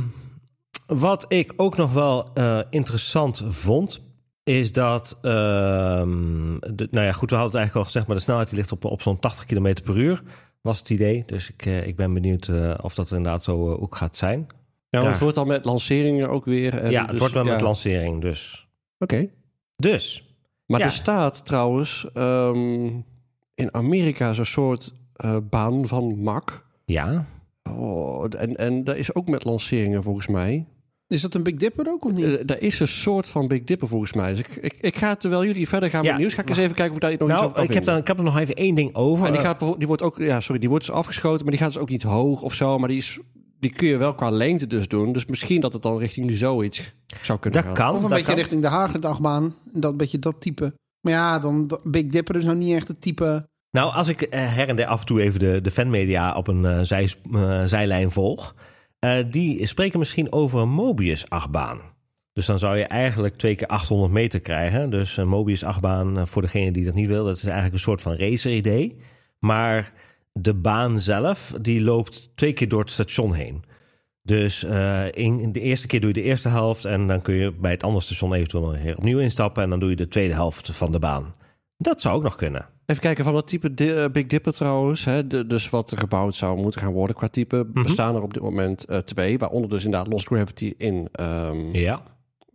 [SPEAKER 2] wat ik ook nog wel eh, interessant vond, is dat... ehm, de, nou ja, goed, we hadden het eigenlijk al gezegd, maar de snelheid die ligt op, op zo'n 80 km per uur, was het idee. Dus ik, eh, ik ben benieuwd eh, of dat inderdaad zo eh, ook gaat zijn.
[SPEAKER 3] Ja, want
[SPEAKER 2] Daar.
[SPEAKER 3] het wordt dan met lanceringen ook weer. En
[SPEAKER 2] ja,
[SPEAKER 3] dus-
[SPEAKER 2] het wordt wel
[SPEAKER 3] ja.
[SPEAKER 2] met lancering, dus.
[SPEAKER 3] Oké.
[SPEAKER 2] Dus,
[SPEAKER 3] Maar
[SPEAKER 2] Ja.
[SPEAKER 3] er staat trouwens ehm, in Amerika zo'n soort eh, baan van mak.
[SPEAKER 2] ja.
[SPEAKER 3] Oh, en, en daar is ook met lanceringen volgens mij.
[SPEAKER 1] Is dat een Big Dipper ook of niet?
[SPEAKER 3] Eh, daar is een soort van Big Dipper volgens mij. Dus ik, ik, ik ga terwijl jullie verder
[SPEAKER 2] Ja.
[SPEAKER 3] gaan met het nieuws, ga ik eens even kijken of daar nog iets
[SPEAKER 2] Nou,
[SPEAKER 3] over kan
[SPEAKER 2] ik heb,
[SPEAKER 3] vinden.
[SPEAKER 2] dan, ik heb er nog even één ding over.
[SPEAKER 3] En die, gaat, bijvoorbeeld- die wordt ook, ja, sorry, die wordt dus afgeschoten, maar die gaat dus ook niet hoog of zo. Maar die, is, die kun je wel qua lengte dus doen. Dus misschien dat het dan richting zoiets zou kunnen
[SPEAKER 2] dat
[SPEAKER 3] gaan.
[SPEAKER 2] kan.
[SPEAKER 1] Of een
[SPEAKER 2] dat
[SPEAKER 1] beetje
[SPEAKER 2] kan.
[SPEAKER 1] richting de Haagentachtbaan. Dat een beetje dat type. Maar ja, dan dat- Big Dipper is nou niet echt het type.
[SPEAKER 2] Nou, als ik eh, her en der af en toe even de, de fanmedia op een eh, zij, eh, zijlijn volg... eh, die spreken misschien over een Mobius-achtbaan. Dus dan zou je eigenlijk twee keer 800 meter krijgen. Dus een Mobius-achtbaan, eh, voor degene die dat niet wil... dat is eigenlijk een soort van racer-idee. Maar de baan zelf, die loopt twee keer door het station heen. Dus eh, in, de eerste keer doe je de eerste helft... en dan kun je bij het andere station eventueel nog weer opnieuw instappen... en dan doe je de tweede helft van de baan. Dat zou ook nog kunnen.
[SPEAKER 3] Even kijken van dat type di- eh, Big Dipper trouwens. Hè, de- dus wat er gebouwd zou moeten gaan worden qua
[SPEAKER 2] Mhm.
[SPEAKER 3] type. Bestaan er op dit moment eh, twee. Waaronder dus inderdaad Lost Gravity in ehm
[SPEAKER 2] Ja.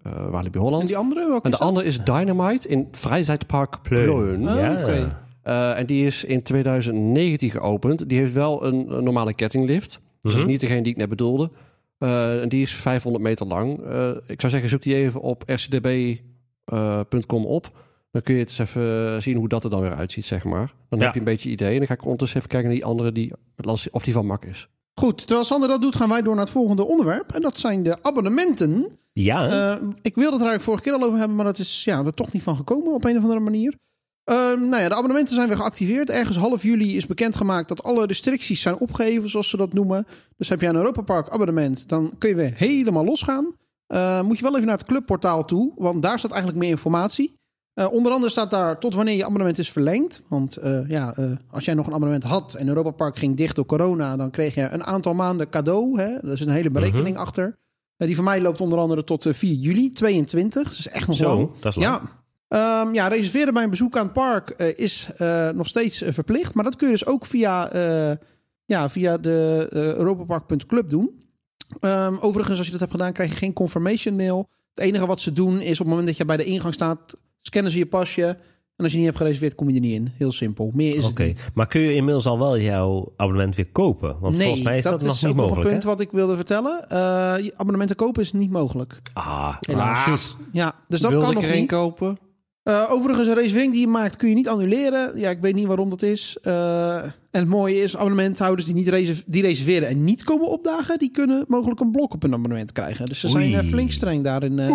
[SPEAKER 3] eh Walibi
[SPEAKER 1] En
[SPEAKER 3] Holland.
[SPEAKER 1] die andere? welke
[SPEAKER 3] En
[SPEAKER 1] is
[SPEAKER 3] de
[SPEAKER 1] dat?
[SPEAKER 3] andere is Dynamite in het Vrijzijdpark Pleun.
[SPEAKER 1] Oh,
[SPEAKER 2] Ja.
[SPEAKER 1] oké.
[SPEAKER 3] Eh, en die is in 2019 geopend. Die heeft wel een, een normale kettinglift. Dus dat is
[SPEAKER 2] Mhm.
[SPEAKER 3] niet degene die ik net bedoelde. Eh, en die is 500 meter lang. Eh, ik zou zeggen, zoek die even op rcdb.com eh, op. Dan kun je het eens even zien hoe dat er dan weer uitziet, zeg maar. Dan
[SPEAKER 2] Ja.
[SPEAKER 3] heb je een beetje idee. En dan ga ik ondertussen even kijken naar die andere, die, of die van Mak is.
[SPEAKER 1] Goed, terwijl Sander dat doet, gaan wij door naar het volgende onderwerp. En dat zijn de abonnementen.
[SPEAKER 2] Ja,
[SPEAKER 1] Eh, ik wilde het er eigenlijk vorige keer al over hebben, maar dat is ja, er toch niet van gekomen op een of andere manier. Ehm, nou ja, de abonnementen zijn weer geactiveerd. Ergens half juli is bekendgemaakt dat alle restricties zijn opgeheven, zoals ze dat noemen. Dus heb jij een Europa Park abonnement, dan kun je weer helemaal losgaan. Eh, moet je wel even naar het clubportaal toe, want daar staat eigenlijk meer informatie. Eh, onder andere staat daar tot wanneer je abonnement is verlengd. Want eh, ja, eh, als jij nog een abonnement had en Europa Park ging dicht door corona, dan kreeg je een aantal maanden cadeau. Hè? Er is een
[SPEAKER 2] Mhm.
[SPEAKER 1] hele berekening achter. Eh, die van mij loopt onder andere tot eh, 4 juli 22. Dat is echt nog lang.
[SPEAKER 2] zo. Dat is lang.
[SPEAKER 1] Ja. Ehm, ja, reserveren bij een bezoek aan het park eh, is eh, nog steeds eh, verplicht. Maar dat kun je dus ook via, eh, ja, via de eh, europapark.club doen. Ehm, overigens, als je dat hebt gedaan, krijg je geen confirmation mail. Het enige wat ze doen is op het moment dat je bij de ingang staat, scannen ze je pasje. En als je niet hebt gereserveerd, kom je er niet in. Heel simpel. Meer is
[SPEAKER 2] Oké,
[SPEAKER 1] het niet.
[SPEAKER 2] maar kun je inmiddels al wel jouw abonnement weer kopen? Want volgens mij is dat, nog
[SPEAKER 1] is
[SPEAKER 2] niet
[SPEAKER 1] ook nog
[SPEAKER 2] mogelijk.
[SPEAKER 1] een punt
[SPEAKER 2] hè?
[SPEAKER 1] wat ik wilde vertellen. Eh, je abonnementen kopen is niet mogelijk.
[SPEAKER 2] Ah,
[SPEAKER 1] Helaas.
[SPEAKER 2] ah,
[SPEAKER 1] Ja, dus dat kan nog
[SPEAKER 3] er één
[SPEAKER 1] niet.
[SPEAKER 3] kopen?
[SPEAKER 1] Eh, overigens, een reservering die je maakt kun je niet annuleren. Ja, ik weet niet waarom dat is. Eh, en het mooie is, abonnementhouders die niet reserve- die reserveren en niet komen opdagen... die kunnen mogelijk een blok op hun abonnement krijgen. Dus ze
[SPEAKER 2] Oei.
[SPEAKER 1] zijn eh, flink streng daarin eh,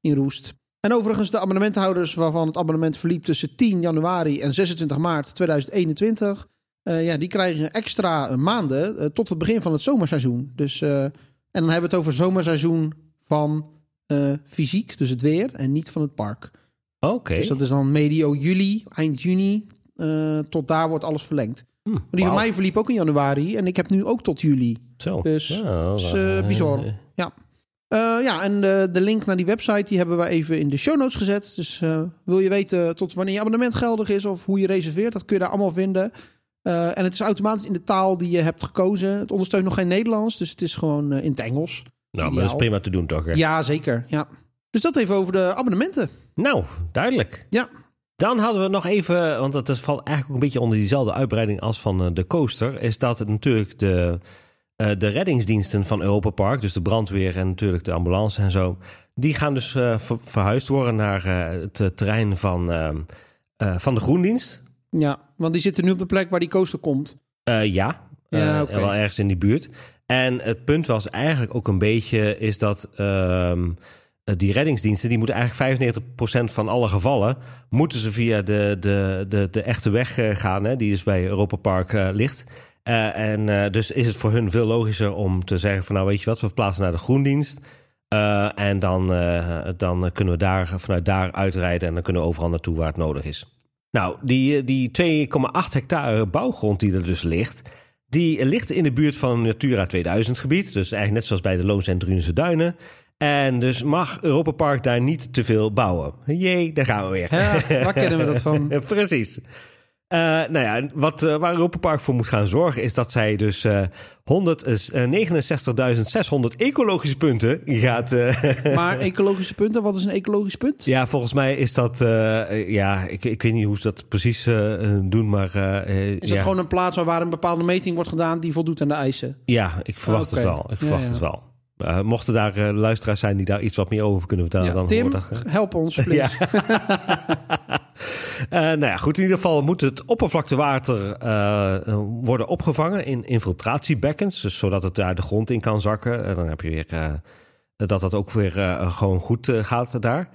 [SPEAKER 1] in roest. En overigens, de abonnementhouders waarvan het abonnement verliep... tussen 10 januari en 26 maart 2021... eh, ja, die krijgen extra eh, maanden eh, tot het begin van het zomerseizoen. Dus, eh, en dan hebben we het over zomerseizoen van eh, fysiek, dus het weer... en niet van het park.
[SPEAKER 2] Oké,
[SPEAKER 1] Dus dat is dan medio juli, eind juni. eh, tot daar wordt alles verlengd.
[SPEAKER 2] Hm,
[SPEAKER 1] Maar die van
[SPEAKER 2] wauw.
[SPEAKER 1] mij verliep ook in januari. En ik heb nu ook tot juli.
[SPEAKER 2] zo.
[SPEAKER 1] dus-
[SPEAKER 2] Nou,
[SPEAKER 1] Dus eh,
[SPEAKER 2] eh,
[SPEAKER 1] bizar. Ja. Eh, ja, en eh, de link naar die website die hebben wij even in de show notes gezet. Dus eh, wil je weten tot wanneer je abonnement geldig is of hoe je reserveert, dat kun je daar allemaal vinden. Eh, en het is automatisch in de taal die je hebt gekozen. Het ondersteunt nog geen Nederlands, dus het is gewoon eh, in het Engels.
[SPEAKER 2] Nou, maar dat is prima te doen toch? hè?
[SPEAKER 1] Ja, zeker. Ja. Dus dat even over de abonnementen.
[SPEAKER 2] Nou, duidelijk.
[SPEAKER 1] Ja.
[SPEAKER 2] Dan hadden we nog even, want dat is- valt eigenlijk ook een beetje onder diezelfde uitbreiding als van eh, de coaster, is dat het natuurlijk de, eh, de reddingsdiensten van Europa Park, dus de brandweer en natuurlijk de ambulance en zo, die gaan dus eh, ver- verhuisd worden naar eh, het eh, terrein van, eh, eh, van de groendienst.
[SPEAKER 1] Ja, want die zitten nu op de plek waar die coaster komt.
[SPEAKER 2] Eh, ja,
[SPEAKER 1] Ja,
[SPEAKER 2] Eh,
[SPEAKER 1] oké.
[SPEAKER 2] wel ergens in die buurt. En het punt was eigenlijk ook een beetje, is dat ehm, eh, die reddingsdiensten, die moeten eigenlijk 95% van alle gevallen, moeten ze via de, de, de, de echte weg eh, gaan, hè, die dus bij Europa Park eh, ligt. Eh, en eh, dus is het voor hun veel logischer om te zeggen van nou weet je wat, we verplaatsen naar de groendienst. Eh, en dan, eh, dan kunnen we daar, vanuit daar uitrijden en dan kunnen we overal naartoe waar het nodig is. Nou, die, die 2,8 hectare bouwgrond die er dus ligt, die ligt in de buurt van een Natura 2000 gebied. Dus eigenlijk net zoals bij de Loons en Drunense Duinen. En dus mag Europa Park daar niet te veel bouwen. Jee, daar gaan we weer.
[SPEAKER 1] Ja, waar kennen we dat van?
[SPEAKER 2] Eh, Precies. Eh, nou ja, en wat, eh, waar Europa Park voor moet gaan zorgen is dat zij dus eh 169.600 ecologische punten gaat. eh,
[SPEAKER 1] Maar ecologische punten, wat is een ecologisch punt?
[SPEAKER 2] ja, volgens mij is dat. eh, ja, ik, ik weet niet hoe ze dat precies eh, eh, doen, maar. eh, eh,
[SPEAKER 1] Is
[SPEAKER 2] ja.
[SPEAKER 1] dat gewoon een plaats waar- waar een bepaalde meting wordt gedaan die voldoet aan de eisen?
[SPEAKER 2] Ja, ik verwacht
[SPEAKER 1] Ah, Oké.
[SPEAKER 2] het wel. Ik
[SPEAKER 1] Ja,
[SPEAKER 2] verwacht
[SPEAKER 1] ja.
[SPEAKER 2] het wel. Eh, mochten daar eh, luisteraars zijn die daar iets wat meer over kunnen vertellen,
[SPEAKER 1] Ja,
[SPEAKER 2] dan
[SPEAKER 1] Tim,
[SPEAKER 2] hoor dat, eh.
[SPEAKER 1] help ons, please.
[SPEAKER 2] Eh, nou ja, goed. In ieder geval moet het oppervlaktewater eh, eh, worden opgevangen in infiltratiebekkens. Dus zodat het daar de grond in kan zakken. En dan heb je weer eh, dat dat ook weer eh, gewoon goed eh, gaat daar.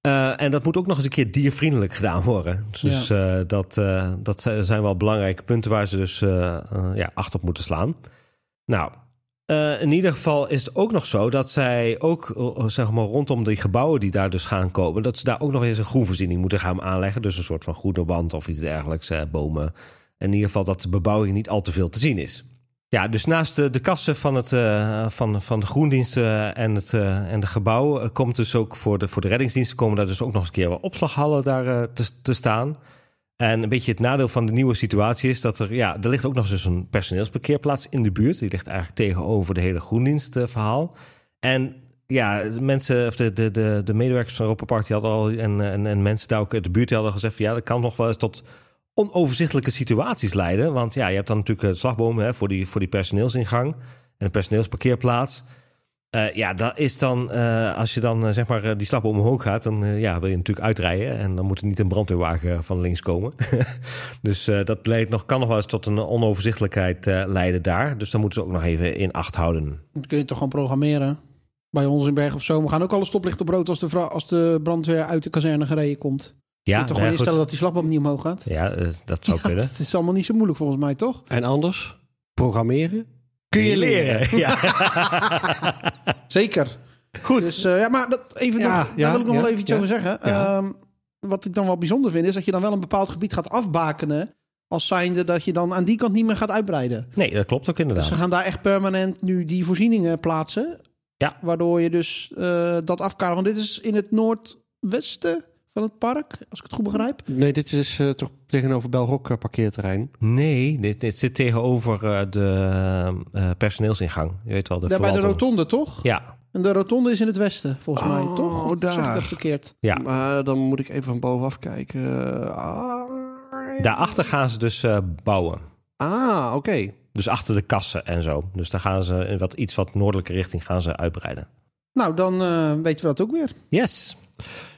[SPEAKER 2] Eh, en dat moet ook nog eens een keer diervriendelijk gedaan worden. Dus eh, dat, eh, dat zijn zijn wel belangrijke punten waar ze dus eh, eh, ja, acht op moeten slaan. Nou, eh, in ieder geval is het ook nog zo dat zij ook eh, zeg maar, rondom die gebouwen die daar dus gaan komen, dat ze daar ook nog eens een groenvoorziening moeten gaan aanleggen. Dus een soort van groene wand of iets dergelijks, eh, bomen. En in ieder geval dat de bebouwing niet al te veel te zien is. Ja, dus naast de, de kassen van, het, eh, van, van de groendiensten en, het, eh, en de gebouwen eh, komt dus ook voor de, voor de reddingsdiensten komen daar dus ook nog eens een keer wat opslaghallen daar eh, te, te staan. En een beetje het nadeel van de nieuwe situatie is dat er, ja, er ligt ook nog eens een personeelsparkeerplaats in de buurt. Die ligt eigenlijk tegenover de hele groendienstverhaal. En ja, de mensen, of de, de, de, de medewerkers van Europa Park, die hadden al, en, en, en mensen daar ook uit de buurt, die hadden gezegd van ja, dat kan nog wel eens tot onoverzichtelijke situaties leiden. Want ja, je hebt dan natuurlijk eh, slagbomen hè, voor, die, voor die personeelsingang en een personeelsparkeerplaats. Eh, ja, dat is dan, eh, als je dan eh, zeg maar eh, die slagboom omhoog gaat, dan eh, ja, wil je natuurlijk uitrijden. En dan moet er niet een brandweerwagen eh, van links komen. dus eh, dat leidt nog, kan nog wel eens tot een onoverzichtelijkheid eh, leiden daar. Dus dan moeten ze ook nog even in acht houden.
[SPEAKER 1] Dan kun je toch gewoon programmeren. Bij ons in Berg op Zoom we gaan ook alle stoplichten op rood als de, vra- als de brandweer uit de kazerne gereden komt. Ja, kun je toch
[SPEAKER 2] nou
[SPEAKER 1] gewoon
[SPEAKER 2] goed.
[SPEAKER 1] instellen dat die slagboom niet omhoog gaat?
[SPEAKER 2] Ja, eh, dat zou
[SPEAKER 1] Ja,
[SPEAKER 2] kunnen.
[SPEAKER 1] dat is allemaal niet zo moeilijk volgens mij, toch?
[SPEAKER 3] En anders? Programmeren?
[SPEAKER 2] Kun je leren? Ja.
[SPEAKER 1] Zeker.
[SPEAKER 3] Goed.
[SPEAKER 1] Dus eh, ja, maar dat, even
[SPEAKER 3] Ja,
[SPEAKER 1] nog,
[SPEAKER 3] ja,
[SPEAKER 1] daar wil ik nog
[SPEAKER 3] ja,
[SPEAKER 1] wel even iets
[SPEAKER 3] ja,
[SPEAKER 1] over zeggen.
[SPEAKER 3] ja.
[SPEAKER 1] Ehm, wat ik dan wel bijzonder vind, is dat je dan wel een bepaald gebied gaat afbakenen. Als zijnde dat je dan aan die kant niet meer gaat uitbreiden.
[SPEAKER 2] Nee, dat klopt ook
[SPEAKER 1] Dus
[SPEAKER 2] inderdaad.
[SPEAKER 1] ze gaan daar echt permanent nu die voorzieningen plaatsen.
[SPEAKER 2] Ja.
[SPEAKER 1] Waardoor je dus eh, dat afkaderen. Want dit is in het noordwesten van het park, als ik het goed begrijp.
[SPEAKER 3] nee, dit is eh, toch tegenover Belrock eh, parkeerterrein.
[SPEAKER 2] Nee, dit, dit zit tegenover eh, de eh, personeelsingang. Je weet wel, de
[SPEAKER 1] Daar bij de
[SPEAKER 2] verwalting.
[SPEAKER 1] rotonde, toch?
[SPEAKER 2] Ja,
[SPEAKER 1] En de rotonde is in het westen, volgens
[SPEAKER 3] Oh,
[SPEAKER 1] mij, toch? Of Zeg ik
[SPEAKER 3] daar.
[SPEAKER 1] dat verkeerd?
[SPEAKER 2] ja.
[SPEAKER 3] Maar dan moet ik even van bovenaf kijken. Eh, ah,
[SPEAKER 2] Daarachter gaan ze dus eh, bouwen.
[SPEAKER 3] ah, oké.
[SPEAKER 2] Dus achter de kassen en zo. Dus daar gaan ze in wat, iets wat noordelijke richting gaan ze uitbreiden.
[SPEAKER 1] Nou, dan eh, weten we dat ook weer.
[SPEAKER 2] Yes.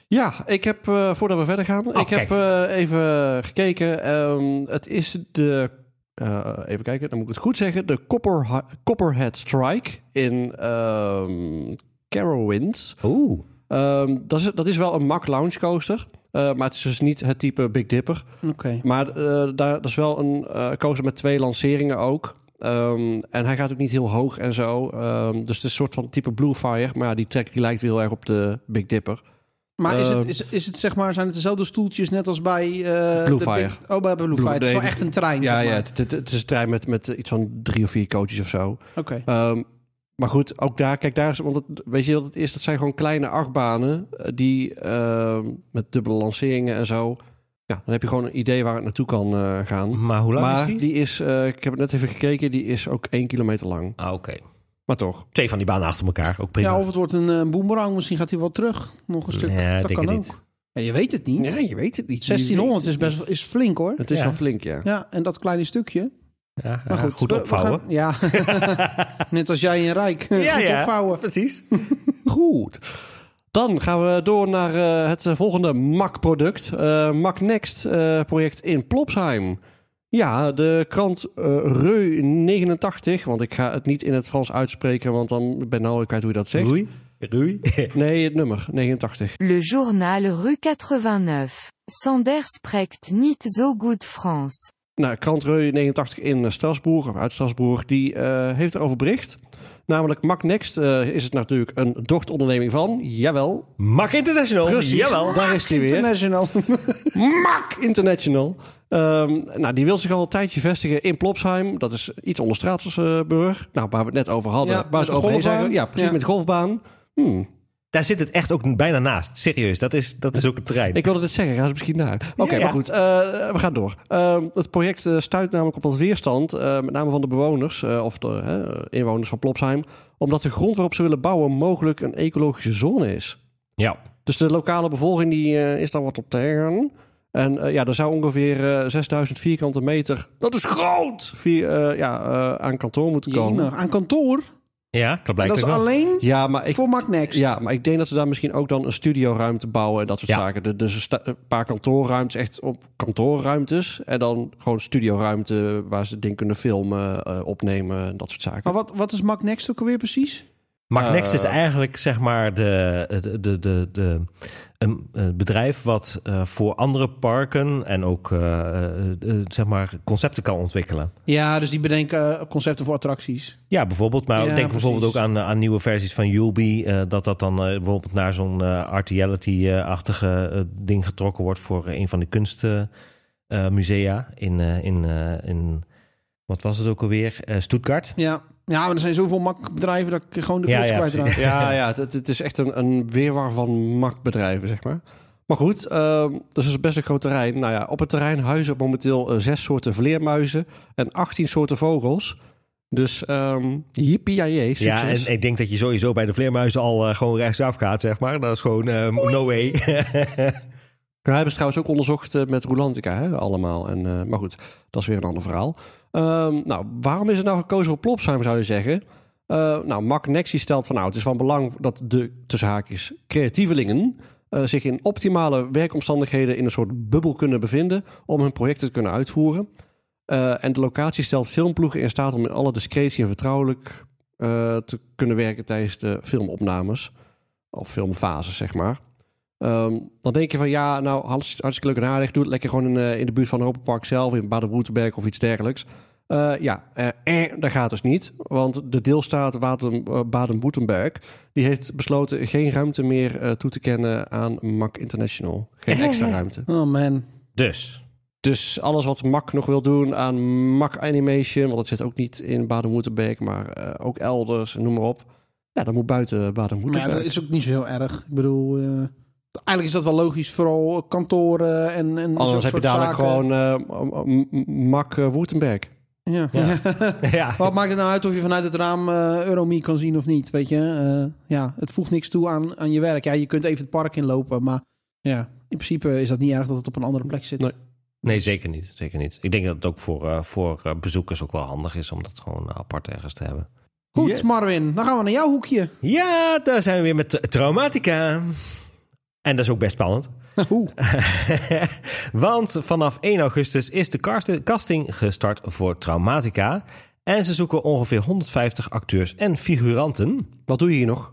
[SPEAKER 3] Ja, ik heb, eh, voordat we verder gaan, ik
[SPEAKER 2] kijk.
[SPEAKER 3] heb eh, even gekeken. Ehm, het is de, eh, even kijken, dan moet ik het goed zeggen, de Copper, Copperhead Strike in ehm Carowinds.
[SPEAKER 2] Oeh.
[SPEAKER 3] Ehm, dat, is, dat is wel een mak lounge coaster, eh, maar het is dus niet het type Big Dipper.
[SPEAKER 1] Oké.
[SPEAKER 3] Maar eh, daar, dat is wel een eh coaster met twee lanceringen ook. Ehm, en hij gaat ook niet heel hoog en zo. Ehm, dus het is een soort van type Blue Fire. Maar ja, die track die lijkt weer heel erg op de Big Dipper.
[SPEAKER 1] Maar is,
[SPEAKER 3] Eh,
[SPEAKER 1] het, is, is het zeg maar, zijn het dezelfde stoeltjes net als bij... eh,
[SPEAKER 3] Blue
[SPEAKER 1] de
[SPEAKER 3] Fire.
[SPEAKER 1] Big- oh, bij Blue,
[SPEAKER 3] Blue-
[SPEAKER 1] Fire. Het is wel
[SPEAKER 3] nee,
[SPEAKER 1] echt een trein,
[SPEAKER 3] Ja,
[SPEAKER 1] zeg
[SPEAKER 3] ja
[SPEAKER 1] maar.
[SPEAKER 3] het, het- het is een trein met, met iets van drie of vier coaches of zo.
[SPEAKER 1] Oké.
[SPEAKER 3] Ehm, maar goed, ook daar, kijk daar is, want het, weet je wat het is? Dat zijn gewoon kleine achtbanen eh, die ehm, met dubbele lanceringen en zo. Ja, dan heb je gewoon een idee waar het naartoe kan eh, gaan.
[SPEAKER 2] Maar hoe lang
[SPEAKER 3] maar
[SPEAKER 2] is die?
[SPEAKER 3] die is, eh, ik heb het net even gekeken, die is ook één kilometer lang.
[SPEAKER 2] Ah, Oké.
[SPEAKER 3] Maar toch.
[SPEAKER 2] Twee van die banen achter elkaar. Ook prima.
[SPEAKER 1] Ja, of het wordt een eh, boomerang. Misschien gaat hij wel terug. Nog een stuk.
[SPEAKER 2] Nee,
[SPEAKER 1] dat
[SPEAKER 2] denk
[SPEAKER 1] kan
[SPEAKER 2] het
[SPEAKER 1] ook.
[SPEAKER 2] niet.
[SPEAKER 1] Ja, je weet het niet.
[SPEAKER 3] je weet het niet.
[SPEAKER 1] 1600 is best wel- is flink, hoor.
[SPEAKER 3] Het is
[SPEAKER 2] Ja.
[SPEAKER 3] wel flink, ja.
[SPEAKER 1] Ja, en dat kleine stukje.
[SPEAKER 2] Ja,
[SPEAKER 1] Maar
[SPEAKER 2] ja,
[SPEAKER 1] goed,
[SPEAKER 2] goed
[SPEAKER 1] we- we
[SPEAKER 2] opvouwen.
[SPEAKER 1] gaan- ja, net als jij in Rijk.
[SPEAKER 2] Ja,
[SPEAKER 1] goed
[SPEAKER 2] ja.
[SPEAKER 1] opvouwen.
[SPEAKER 2] Precies.
[SPEAKER 3] Goed. Dan gaan we door naar eh, het eh, volgende MAC-product. Eh MAC Next eh, project in Plopsheim. Ja, de krant eh, Reu 89. Want ik ga het niet in het Frans uitspreken, want dan ben ik nou kwijt hoe je dat zegt.
[SPEAKER 2] Roei. Roei.
[SPEAKER 3] Nee, het nummer 89.
[SPEAKER 4] Le journal rue 89. Sander spreekt niet zo goed Frans.
[SPEAKER 3] Nou, krant Reu 89 in eh, Strasbourg, of uit Strasbourg, die eh, heeft erover bericht. Namelijk MAC Next eh, is het natuurlijk een dochteronderneming van, jawel,
[SPEAKER 2] Mak International.
[SPEAKER 3] Precies.
[SPEAKER 2] Jawel.
[SPEAKER 3] Daar is hij weer.
[SPEAKER 1] International.
[SPEAKER 3] Mak International. Ehm, nou, die wil zich al een tijdje vestigen in Plopsheim. Dat is iets onder Straatsburg. Nou, waar we het net over hadden.
[SPEAKER 1] Ja,
[SPEAKER 3] waar
[SPEAKER 1] met
[SPEAKER 3] ze
[SPEAKER 1] de
[SPEAKER 3] overheen zijn.
[SPEAKER 1] golfbaan.
[SPEAKER 3] Ja, precies,
[SPEAKER 1] Ja.
[SPEAKER 3] met de golfbaan. Hmm.
[SPEAKER 2] Daar zit het echt ook bijna naast. Serieus, dat is, dat is ook een trein.
[SPEAKER 3] Ik wilde dit zeggen, gaan ze misschien naar. Oké,
[SPEAKER 2] Ja, ja.
[SPEAKER 3] maar goed, eh, we gaan door. Ehm, het project eh, stuit namelijk op wat weerstand, eh, met name van de bewoners, eh, of de eh, inwoners van Plopsheim, omdat de grond waarop ze willen bouwen mogelijk een ecologische zone is.
[SPEAKER 2] Ja.
[SPEAKER 3] Dus de lokale bevolking die, eh, is daar wat op tegen. En eh, ja, er zou ongeveer eh, 6000 vierkante meter, dat is groot, vier, eh, ja, eh, aan kantoor moeten komen.
[SPEAKER 1] Jemig, Aan kantoor.
[SPEAKER 2] Ja, dat
[SPEAKER 1] Dat
[SPEAKER 2] blijkt
[SPEAKER 1] is
[SPEAKER 2] ook wel.
[SPEAKER 1] alleen
[SPEAKER 3] Ja maar, ik,
[SPEAKER 1] voor Mac Next.
[SPEAKER 3] ja, maar ik denk dat ze daar misschien ook dan een studioruimte bouwen en dat soort
[SPEAKER 2] Ja.
[SPEAKER 3] zaken. De- Dus een, sta- een paar kantoorruimtes, echt op kantoorruimtes. En dan gewoon studioruimte waar ze dingen kunnen filmen, eh, opnemen en dat soort zaken.
[SPEAKER 1] Maar wat, wat is Mac Next ook alweer precies?
[SPEAKER 2] Maar
[SPEAKER 3] Eh,
[SPEAKER 2] Next is eigenlijk zeg maar de, de, de, de, de- een eh, bedrijf wat eh, voor andere parken en ook eh, eh, eh, zeg maar concepten kan ontwikkelen.
[SPEAKER 1] Ja, dus die bedenken eh, concepten voor attracties.
[SPEAKER 2] Ja, bijvoorbeeld. Maar
[SPEAKER 1] Ja,
[SPEAKER 2] denk
[SPEAKER 1] precies.
[SPEAKER 2] bijvoorbeeld ook aan, eh, aan nieuwe versies van Yulby. eh, dat dat dan eh, bijvoorbeeld naar zo'n eh artiality-achtige eh, ding getrokken wordt voor eh, een van de kunstmusea in, eh, in, eh, in. Wat was het ook alweer? Eh, Stuttgart.
[SPEAKER 1] Ja, ja maar er zijn zoveel MAC-bedrijven dat ik gewoon de
[SPEAKER 2] Ja,
[SPEAKER 1] kluts
[SPEAKER 2] ja,
[SPEAKER 1] kwijtraak.
[SPEAKER 3] Ja, ja het, het- het is echt een, een weerwar van machtbedrijven, zeg maar. Maar goed, ehm, dus het is best een groot terrein. Nou ja, op het terrein huizen momenteel eh, zes soorten vleermuizen en 18 soorten vogels. Dus ehm yippie succes.
[SPEAKER 2] Ja, en ik denk dat je sowieso bij de vleermuizen al eh, gewoon rechtsaf gaat, zeg maar. Dat is gewoon ehm, no way.
[SPEAKER 3] Nou, hebben ze trouwens ook onderzocht eh, met Rolantica, hè, allemaal. En, eh, maar goed, dat is weer een ander verhaal. Ehm, nou, waarom is het nou gekozen voor Plopsheim, zou je zeggen? Eh, nou, Mark Nexi stelt van, nou, het is van belang dat de, tussen haakjes, creatievelingen... eh, zich in optimale werkomstandigheden in een soort bubbel kunnen bevinden... om hun projecten te kunnen uitvoeren. Eh, en de locatie stelt filmploegen in staat om in alle discretie en vertrouwelijk... eh, te kunnen werken tijdens de filmopnames. Of filmfases, zeg maar. Ehm, dan denk je van ja, nou hartst- hartstikke leuk en aardig. Doe het lekker gewoon in, eh, in de buurt van Europa Park zelf, in Baden-Württemberg of iets dergelijks. Eh, ja, eh, eh, dat gaat dus niet. Want de deelstaat Waden- eh, Baden-Württemberg die heeft besloten geen ruimte meer eh, toe te kennen aan MAC International. Geen extra ruimte.
[SPEAKER 1] Oh man.
[SPEAKER 2] dus,
[SPEAKER 3] Dus alles wat MAC nog wil doen aan MAC Animation, want dat zit ook niet in Baden-Württemberg, maar eh, ook elders, noem maar op. Ja, dat moet buiten
[SPEAKER 1] Maar ja, dat
[SPEAKER 3] Baden-Württemberg.
[SPEAKER 1] is ook niet zo heel erg. Ik bedoel, eh, eigenlijk is dat wel logisch. Vooral kantoren en, en
[SPEAKER 3] Anders
[SPEAKER 1] zo'n
[SPEAKER 3] heb je
[SPEAKER 1] soort
[SPEAKER 3] dadelijk
[SPEAKER 1] zaken.
[SPEAKER 3] gewoon eh, m- m- m- Mak eh, Württemberg.
[SPEAKER 1] Ja.
[SPEAKER 2] ja.
[SPEAKER 1] Wat maakt het nou uit of je vanuit het raam eh Euromie kan zien of niet? Weet je, Eh, ja, het voegt niks toe aan, aan je werk. Ja, je kunt even het park inlopen, maar ja, in principe is dat niet erg dat het op een andere plek zit.
[SPEAKER 3] Nee.
[SPEAKER 2] Nee, zeker niet, zeker niet. Ik denk dat het ook voor, eh, voor eh, bezoekers ook wel handig is om dat gewoon eh, apart ergens te hebben.
[SPEAKER 1] Goed,
[SPEAKER 3] Yes.
[SPEAKER 1] Marwin, dan gaan we naar jouw hoekje.
[SPEAKER 2] Ja, daar zijn we weer met tra- Traumatica. En dat is ook best spannend.
[SPEAKER 1] Oeh.
[SPEAKER 2] Want vanaf 1 augustus is de cast- casting gestart voor Traumatica. En ze zoeken ongeveer 150 acteurs en figuranten.
[SPEAKER 3] Wat doe je hier nog?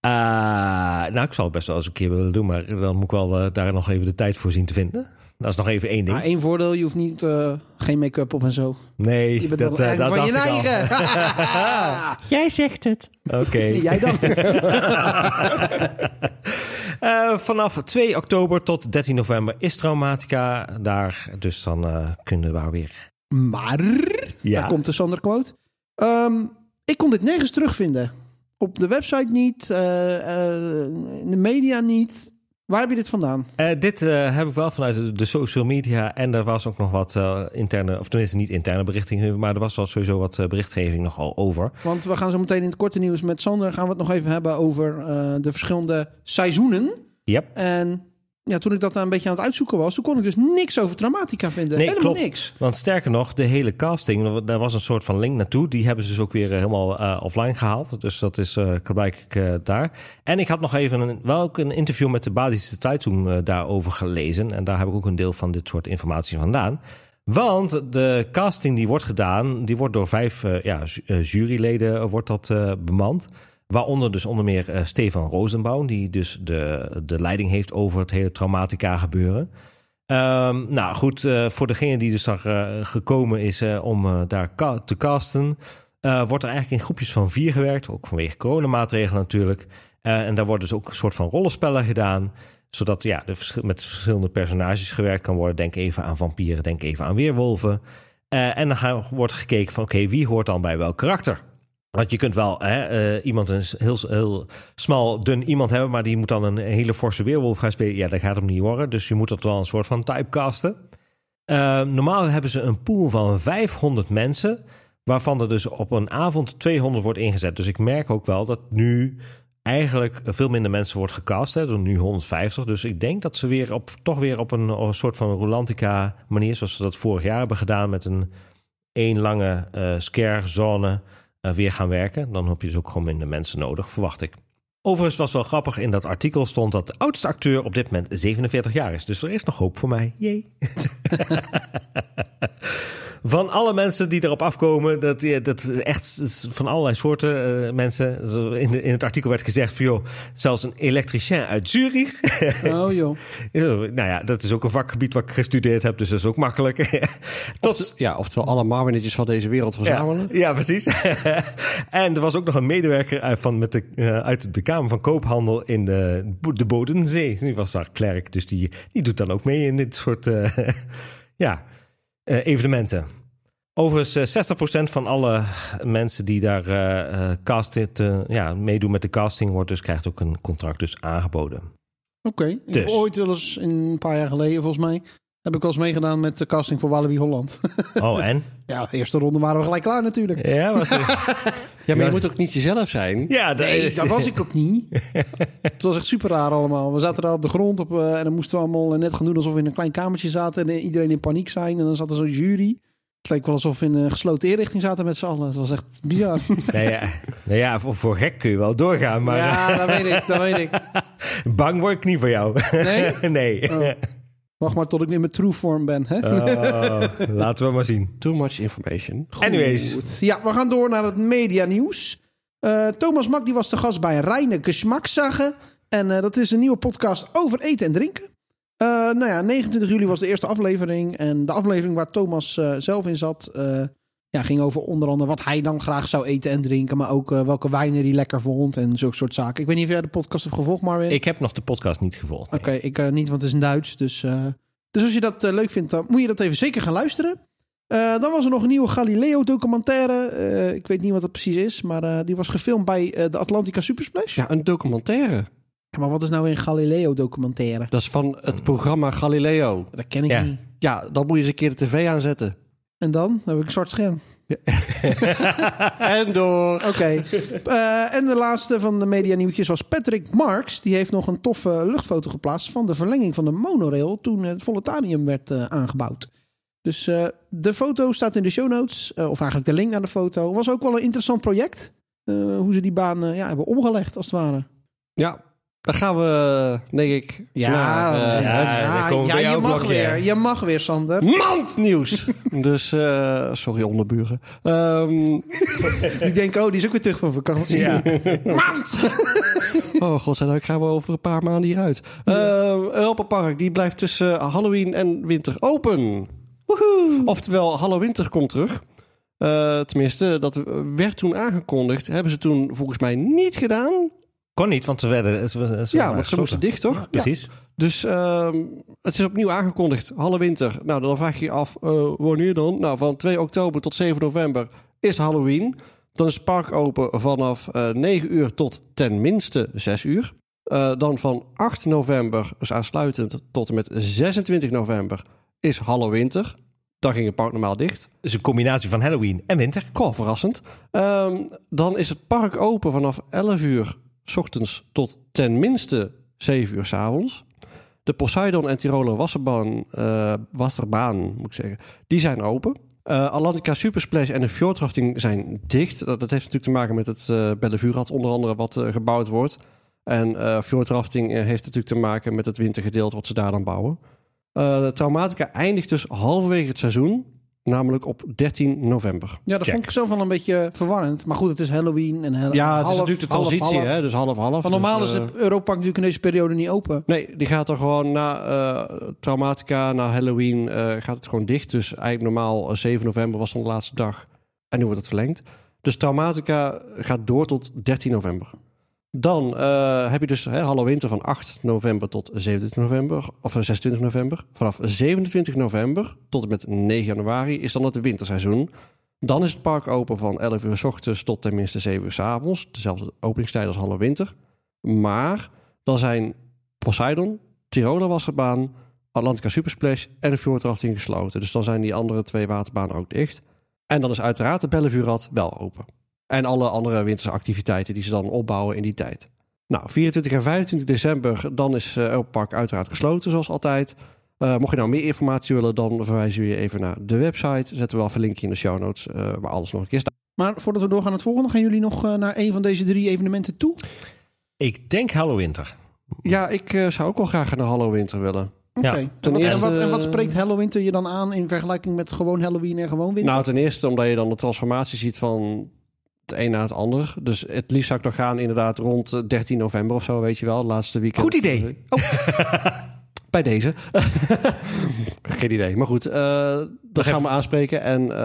[SPEAKER 2] Eh, nou, ik zou het best wel eens een keer willen doen, maar dan moet ik wel eh, daar nog even de tijd voor zien te vinden. Dat is nog even één ding.
[SPEAKER 1] Maar één voordeel, Ah, je hoeft niet, eh, geen make-up op en zo.
[SPEAKER 2] Nee,
[SPEAKER 1] Je bent
[SPEAKER 2] dat,
[SPEAKER 1] wel
[SPEAKER 2] eh,
[SPEAKER 1] een
[SPEAKER 2] dat
[SPEAKER 1] van je
[SPEAKER 2] dacht ik al.
[SPEAKER 1] eigen.
[SPEAKER 2] Jij zegt het. Oké.
[SPEAKER 1] Jij dacht het.
[SPEAKER 2] Eh, vanaf 2 oktober tot 13 november is Traumatica daar. Dus dan eh, kunnen we daar weer.
[SPEAKER 1] Maar,
[SPEAKER 2] Ja.
[SPEAKER 1] daar komt de Sander quote. Ehm, ik kon dit nergens terugvinden. Op de website niet, eh, eh, in de media niet. Waar heb je dit vandaan?
[SPEAKER 2] Eh, dit eh, heb ik wel vanuit de, de social media. En er was ook nog wat eh, interne, of tenminste niet interne berichting, maar er was wel sowieso wat eh, berichtgeving nogal over.
[SPEAKER 1] Want we gaan zo meteen in het korte nieuws met Sander... gaan we het nog even hebben over eh, de verschillende seizoenen.
[SPEAKER 2] Yep.
[SPEAKER 1] En ja, toen ik dat een beetje aan het uitzoeken was... toen kon ik dus niks over Traumatica vinden.
[SPEAKER 2] Nee,
[SPEAKER 1] Helemaal
[SPEAKER 2] klopt.
[SPEAKER 1] niks.
[SPEAKER 2] Want sterker nog, de hele casting, daar was een soort van link naartoe. Die hebben ze dus ook weer eh, helemaal eh, offline gehaald. Dus dat is eh blijkbaar eh, daar. En ik had nog even een, wel ook een interview met de Badische Zeitung eh, daarover gelezen. En daar heb ik ook een deel van dit soort informatie vandaan. Want de casting die wordt gedaan, die wordt door vijf eh, ja, ju- eh, juryleden eh, wordt dat, eh, bemand. Waaronder dus onder meer eh, Stefan Rosenbaum, die dus de, de leiding heeft over het hele traumatica gebeuren. Ehm, nou goed, eh, voor degene die dus daar eh, gekomen is eh, om eh, daar ka- te casten, eh, wordt er eigenlijk in groepjes van vier gewerkt, ook vanwege coronamaatregelen natuurlijk. Eh, en daar worden dus ook een soort van rollenspellen gedaan, zodat ja, de verschil- met verschillende personages gewerkt kan worden. Denk even aan vampieren, denk even aan weerwolven. Eh, en dan gaan, wordt gekeken van oké, wie hoort dan bij welk karakter? Want je kunt wel hè, eh, iemand een s- heel, heel smal, dun iemand hebben, maar die moet dan een hele forse weerwolf gaan spelen. Ja, dat gaat hem niet worden. Dus je moet dat wel een soort van typecasten. Eh, normaal hebben ze een pool van 500 mensen, waarvan er dus op een avond 200 wordt ingezet. Dus ik merk ook wel dat nu eigenlijk veel minder mensen wordt gecast. Hè, door nu 150. Dus ik denk dat ze weer op, toch weer op een, eh, soort van Rolantica manier, zoals ze dat vorig jaar hebben gedaan, met een één lange eh scare zone eh, weer gaan werken. Dan heb je dus ook gewoon minder mensen nodig, verwacht ik. Overigens was wel grappig, in dat artikel stond dat de oudste acteur op dit moment 47 jaar is. Dus er is nog hoop voor mij. Jee. van alle mensen die erop afkomen, dat, ja, dat is echt van allerlei soorten eh, mensen. In, de- in het artikel werd gezegd van joh, zelfs een elektricien uit Zurich.
[SPEAKER 1] Oh joh.
[SPEAKER 2] nou ja, dat is ook een vakgebied waar ik gestudeerd heb, dus dat is ook makkelijk. Tot,
[SPEAKER 3] Ja, oftewel alle marwinnetjes van deze wereld verzamelen.
[SPEAKER 2] ja, ja, precies. en er was ook nog een medewerker uit, van, met de, eh, uit de Kamer van Koophandel in de, Bo- de Bodensee. Die was daar klerk, dus die, die doet dan ook mee in dit soort eh, ja, eh, evenementen. Overigens, eh, 60% van alle mensen die daar eh, eh, casted, eh, ja, meedoen met de casting, wordt dus, krijgt ook een contract dus aangeboden.
[SPEAKER 1] Oké, ik
[SPEAKER 2] Dus.
[SPEAKER 1] heb ooit wel eens een paar jaar geleden volgens mij Heb ik wel eens meegedaan met de casting voor Walibi Holland.
[SPEAKER 2] Oh, en?
[SPEAKER 1] ja, eerste ronde waren we gelijk klaar natuurlijk.
[SPEAKER 2] Ja, was
[SPEAKER 3] Ja, maar je
[SPEAKER 2] Ja,
[SPEAKER 3] moet ook niet jezelf zijn.
[SPEAKER 2] ja, dat
[SPEAKER 1] Nee,
[SPEAKER 2] is-
[SPEAKER 1] dat was ik ook niet. het was echt super raar allemaal. We zaten daar op de grond op, eh, en dan moesten we allemaal eh, net gaan doen alsof we in een klein kamertje zaten en eh, iedereen in paniek zijn. En dan zat er zo'n jury. Het leek wel alsof we in een gesloten inrichting zaten met z'n allen. Het was echt bizar.
[SPEAKER 2] Nou ja, nou ja voor, voor gek kun je wel doorgaan, maar
[SPEAKER 1] ja, dat weet ik, dat weet ik.
[SPEAKER 2] eh, bang word ik niet voor jou.
[SPEAKER 1] Nee?
[SPEAKER 2] nee.
[SPEAKER 1] Oh. Wacht maar tot ik weer in mijn true vorm ben. Hè?
[SPEAKER 2] Oh, laten we maar zien.
[SPEAKER 3] Too much information.
[SPEAKER 2] Anyways,
[SPEAKER 1] Goed. Ja, we gaan door naar het medianieuws. Eh Thomas Mak die was de gast bij Reine Geschmackszagen. En eh, dat is een nieuwe podcast over eten en drinken. Eh, nou ja, 29 juli was de eerste aflevering. En de aflevering waar Thomas eh, zelf in zat... eh, ja, ging over onder andere wat hij dan graag zou eten en drinken. Maar ook eh, welke wijnen hij lekker vond en zulke soort zaken. Ik weet niet of jij de podcast hebt gevolgd, Marvin.
[SPEAKER 2] ik heb nog de podcast niet gevolgd. nee.
[SPEAKER 1] Oké, ik eh, niet, want het is in Duits. Dus, eh, dus als je dat eh, leuk vindt, dan moet je dat even zeker gaan luisteren. Eh, dan was er nog een nieuwe Galileo-documentaire. Eh, ik weet niet wat dat precies is, maar eh, die was gefilmd bij eh, de Atlantica Supersplash.
[SPEAKER 3] Ja, een documentaire.
[SPEAKER 1] Maar wat is nou een Galileo-documentaire?
[SPEAKER 3] Dat is van het programma Galileo.
[SPEAKER 1] Dat ken ik
[SPEAKER 2] Ja.
[SPEAKER 1] niet.
[SPEAKER 3] Ja, dan moet je eens een keer de tv aanzetten.
[SPEAKER 1] En dan? Dan heb ik een zwart scherm.
[SPEAKER 3] En door.
[SPEAKER 1] Oké. Eh, en de laatste van de media-nieuwtjes was Patrick Marks. Die heeft nog een toffe luchtfoto geplaatst van de verlenging van de monorail toen het Voletarium werd eh, aangebouwd. Dus eh, de foto staat in de show notes, eh, of eigenlijk de link naar de foto. Was ook wel een interessant project. eh, hoe ze die baan eh, ja, hebben omgelegd, als het ware.
[SPEAKER 3] Ja, dan gaan we, denk ik, naar, eh,
[SPEAKER 2] ja, dan komen we bij
[SPEAKER 1] je
[SPEAKER 2] jouw
[SPEAKER 1] mag
[SPEAKER 2] blokje.
[SPEAKER 1] weer. Je mag weer, Sander.
[SPEAKER 3] het mandnieuws. dus, eh, sorry onderburen. Ehm,
[SPEAKER 1] Die denken, oh, die is ook weer terug van vakantie.
[SPEAKER 2] Ja.
[SPEAKER 3] oh godzijdank gaan we over een paar maanden hieruit. Ehm Europa Park, die blijft tussen Halloween en winter open. Oftewel, Hallowinter komt terug. Eh, tenminste, dat werd toen aangekondigd. Hebben ze toen volgens mij niet gedaan.
[SPEAKER 2] Kon niet, want ze werden. Ze, ze- ze
[SPEAKER 3] Ja,
[SPEAKER 2] waren
[SPEAKER 3] want ze
[SPEAKER 2] gesloten.
[SPEAKER 3] moesten dicht, toch? Ja.
[SPEAKER 2] Precies.
[SPEAKER 3] Dus ehm, het is opnieuw aangekondigd, Hallowinter. Nou, dan vraag je je af, eh, wanneer dan? Nou, van 2 oktober tot 7 november is Halloween. Dan is het park open vanaf eh 9 uur tot tenminste 6 uur. Eh, dan van 8 november, dus aansluitend tot en met 26 november, is Hallowinter. Dan ging het park normaal dicht.
[SPEAKER 2] Dus een combinatie van Halloween en winter.
[SPEAKER 3] Goh, verrassend. Ehm, dan is het park open vanaf 11 uur s ochtends tot tenminste 7 uur s avonds. De Poseidon en Tiroler Wasserbaan, eh, Wasserbaan moet ik zeggen, die zijn open. Eh Atlantica Supersplash en de Fjordrafting zijn dicht. Dat, dat heeft natuurlijk te maken met het eh Bellevuurrad onder andere wat eh, gebouwd wordt. En eh Fjordrafting eh, heeft natuurlijk te maken met het wintergedeelte wat ze daar dan bouwen. Eh Traumatica eindigt dus halverwege het seizoen, namelijk op 13 november.
[SPEAKER 1] Ja, dat
[SPEAKER 2] Check.
[SPEAKER 1] vond ik zelf wel een beetje verwarrend. Maar goed, het is Halloween en Halloween.
[SPEAKER 3] Ja, dus het is natuurlijk de transitie, hè? Dus half half.
[SPEAKER 1] Maar normaal
[SPEAKER 3] Dus,
[SPEAKER 1] is
[SPEAKER 3] eh,
[SPEAKER 1] het Europa natuurlijk in deze periode niet open.
[SPEAKER 3] Nee, die gaat dan gewoon na eh, Traumatica, na Halloween, eh, gaat het gewoon dicht. Dus eigenlijk normaal eh, 7 november was dan de laatste dag. En nu wordt het verlengd. Dus Traumatica gaat door tot 13 november. Dan eh, heb je dus hè, Hallowinter van 8 november tot 27 november. Of eh, 26 november. Vanaf 27 november tot en met 9 januari is dan het winterseizoen. Dan is het park open van 11 uur s ochtends tot tenminste 7 uur s avonds. Dezelfde openingstijd als Hallowinter. Maar dan zijn Poseidon, Tiroler Wasserbaan, Atlantica Supersplash en de Fjordrafting gesloten. Dus dan zijn die andere twee waterbanen ook dicht. En dan is uiteraard de Bellevuurrad wel open. En alle andere winterse activiteiten die ze dan opbouwen in die tijd. Nou, 24 en 25 december, dan is eh, Europa Park uiteraard gesloten, zoals altijd. Eh, mocht je nou meer informatie willen, dan verwijzen we je even naar de website. Zetten we wel even een linkje in de show notes, eh, waar alles nog een keer staat.
[SPEAKER 1] Maar voordat we doorgaan naar het volgende, gaan jullie nog eh, naar een van deze drie evenementen toe?
[SPEAKER 2] Ik denk Hallowinter.
[SPEAKER 3] Ja, ik eh, zou ook wel graag naar Hallowinter willen.
[SPEAKER 1] Oké.
[SPEAKER 2] Ja.
[SPEAKER 1] En,
[SPEAKER 3] Ten
[SPEAKER 1] wat- en,
[SPEAKER 3] eerste-
[SPEAKER 1] wat- en wat spreekt Halloween je dan aan in vergelijking met gewoon Halloween en gewoon winter?
[SPEAKER 3] Nou, ten eerste omdat je dan de transformatie ziet van het een naar het ander. Dus het liefst zou ik nog gaan inderdaad rond eh, 13 november of zo, weet je wel. het Laatste weekend.
[SPEAKER 2] Goed idee.
[SPEAKER 3] Oh. Bij deze. Geen idee. Maar goed, eh, dat gaan we aanspreken. En eh,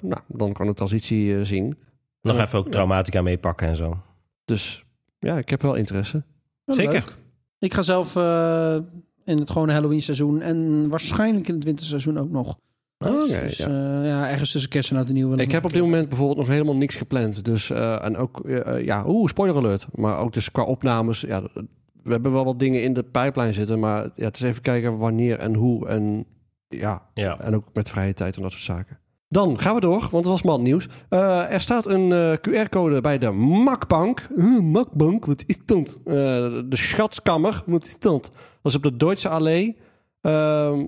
[SPEAKER 3] nou, dan kan de transitie eh, zien.
[SPEAKER 2] Nog even ook Traumatica meepakken en zo.
[SPEAKER 3] Dus ja, ik heb wel interesse.
[SPEAKER 1] Wel
[SPEAKER 2] Zeker.
[SPEAKER 1] leuk. Ik ga zelf eh, in het gewone Halloween seizoen en waarschijnlijk in het winterseizoen ook nog.
[SPEAKER 3] Oké,
[SPEAKER 1] dus
[SPEAKER 3] ja.
[SPEAKER 1] ja. ja, ergens tussen kerst en oud en nieuw. wil
[SPEAKER 3] Ik heb
[SPEAKER 1] nog
[SPEAKER 3] op
[SPEAKER 1] een
[SPEAKER 3] dit moment bijvoorbeeld nog helemaal niks gepland. Dus, eh, en ook, eh, eh, ja, oeh, spoiler alert. Maar ook dus qua opnames, ja, we hebben wel wat dingen in de pijplijn zitten. Maar ja, het is even kijken wanneer en hoe en ja,
[SPEAKER 2] Ja.
[SPEAKER 3] en ook met vrije tijd en dat soort zaken. Dan gaan we door, want het was mandnieuws. Eh er staat een eh, QR-code bij de Makbank. Huh, Makbank, wat is dat? Eh, de Schatkamer, wat is dat? Dat is op de Duitse Allee. Ehm,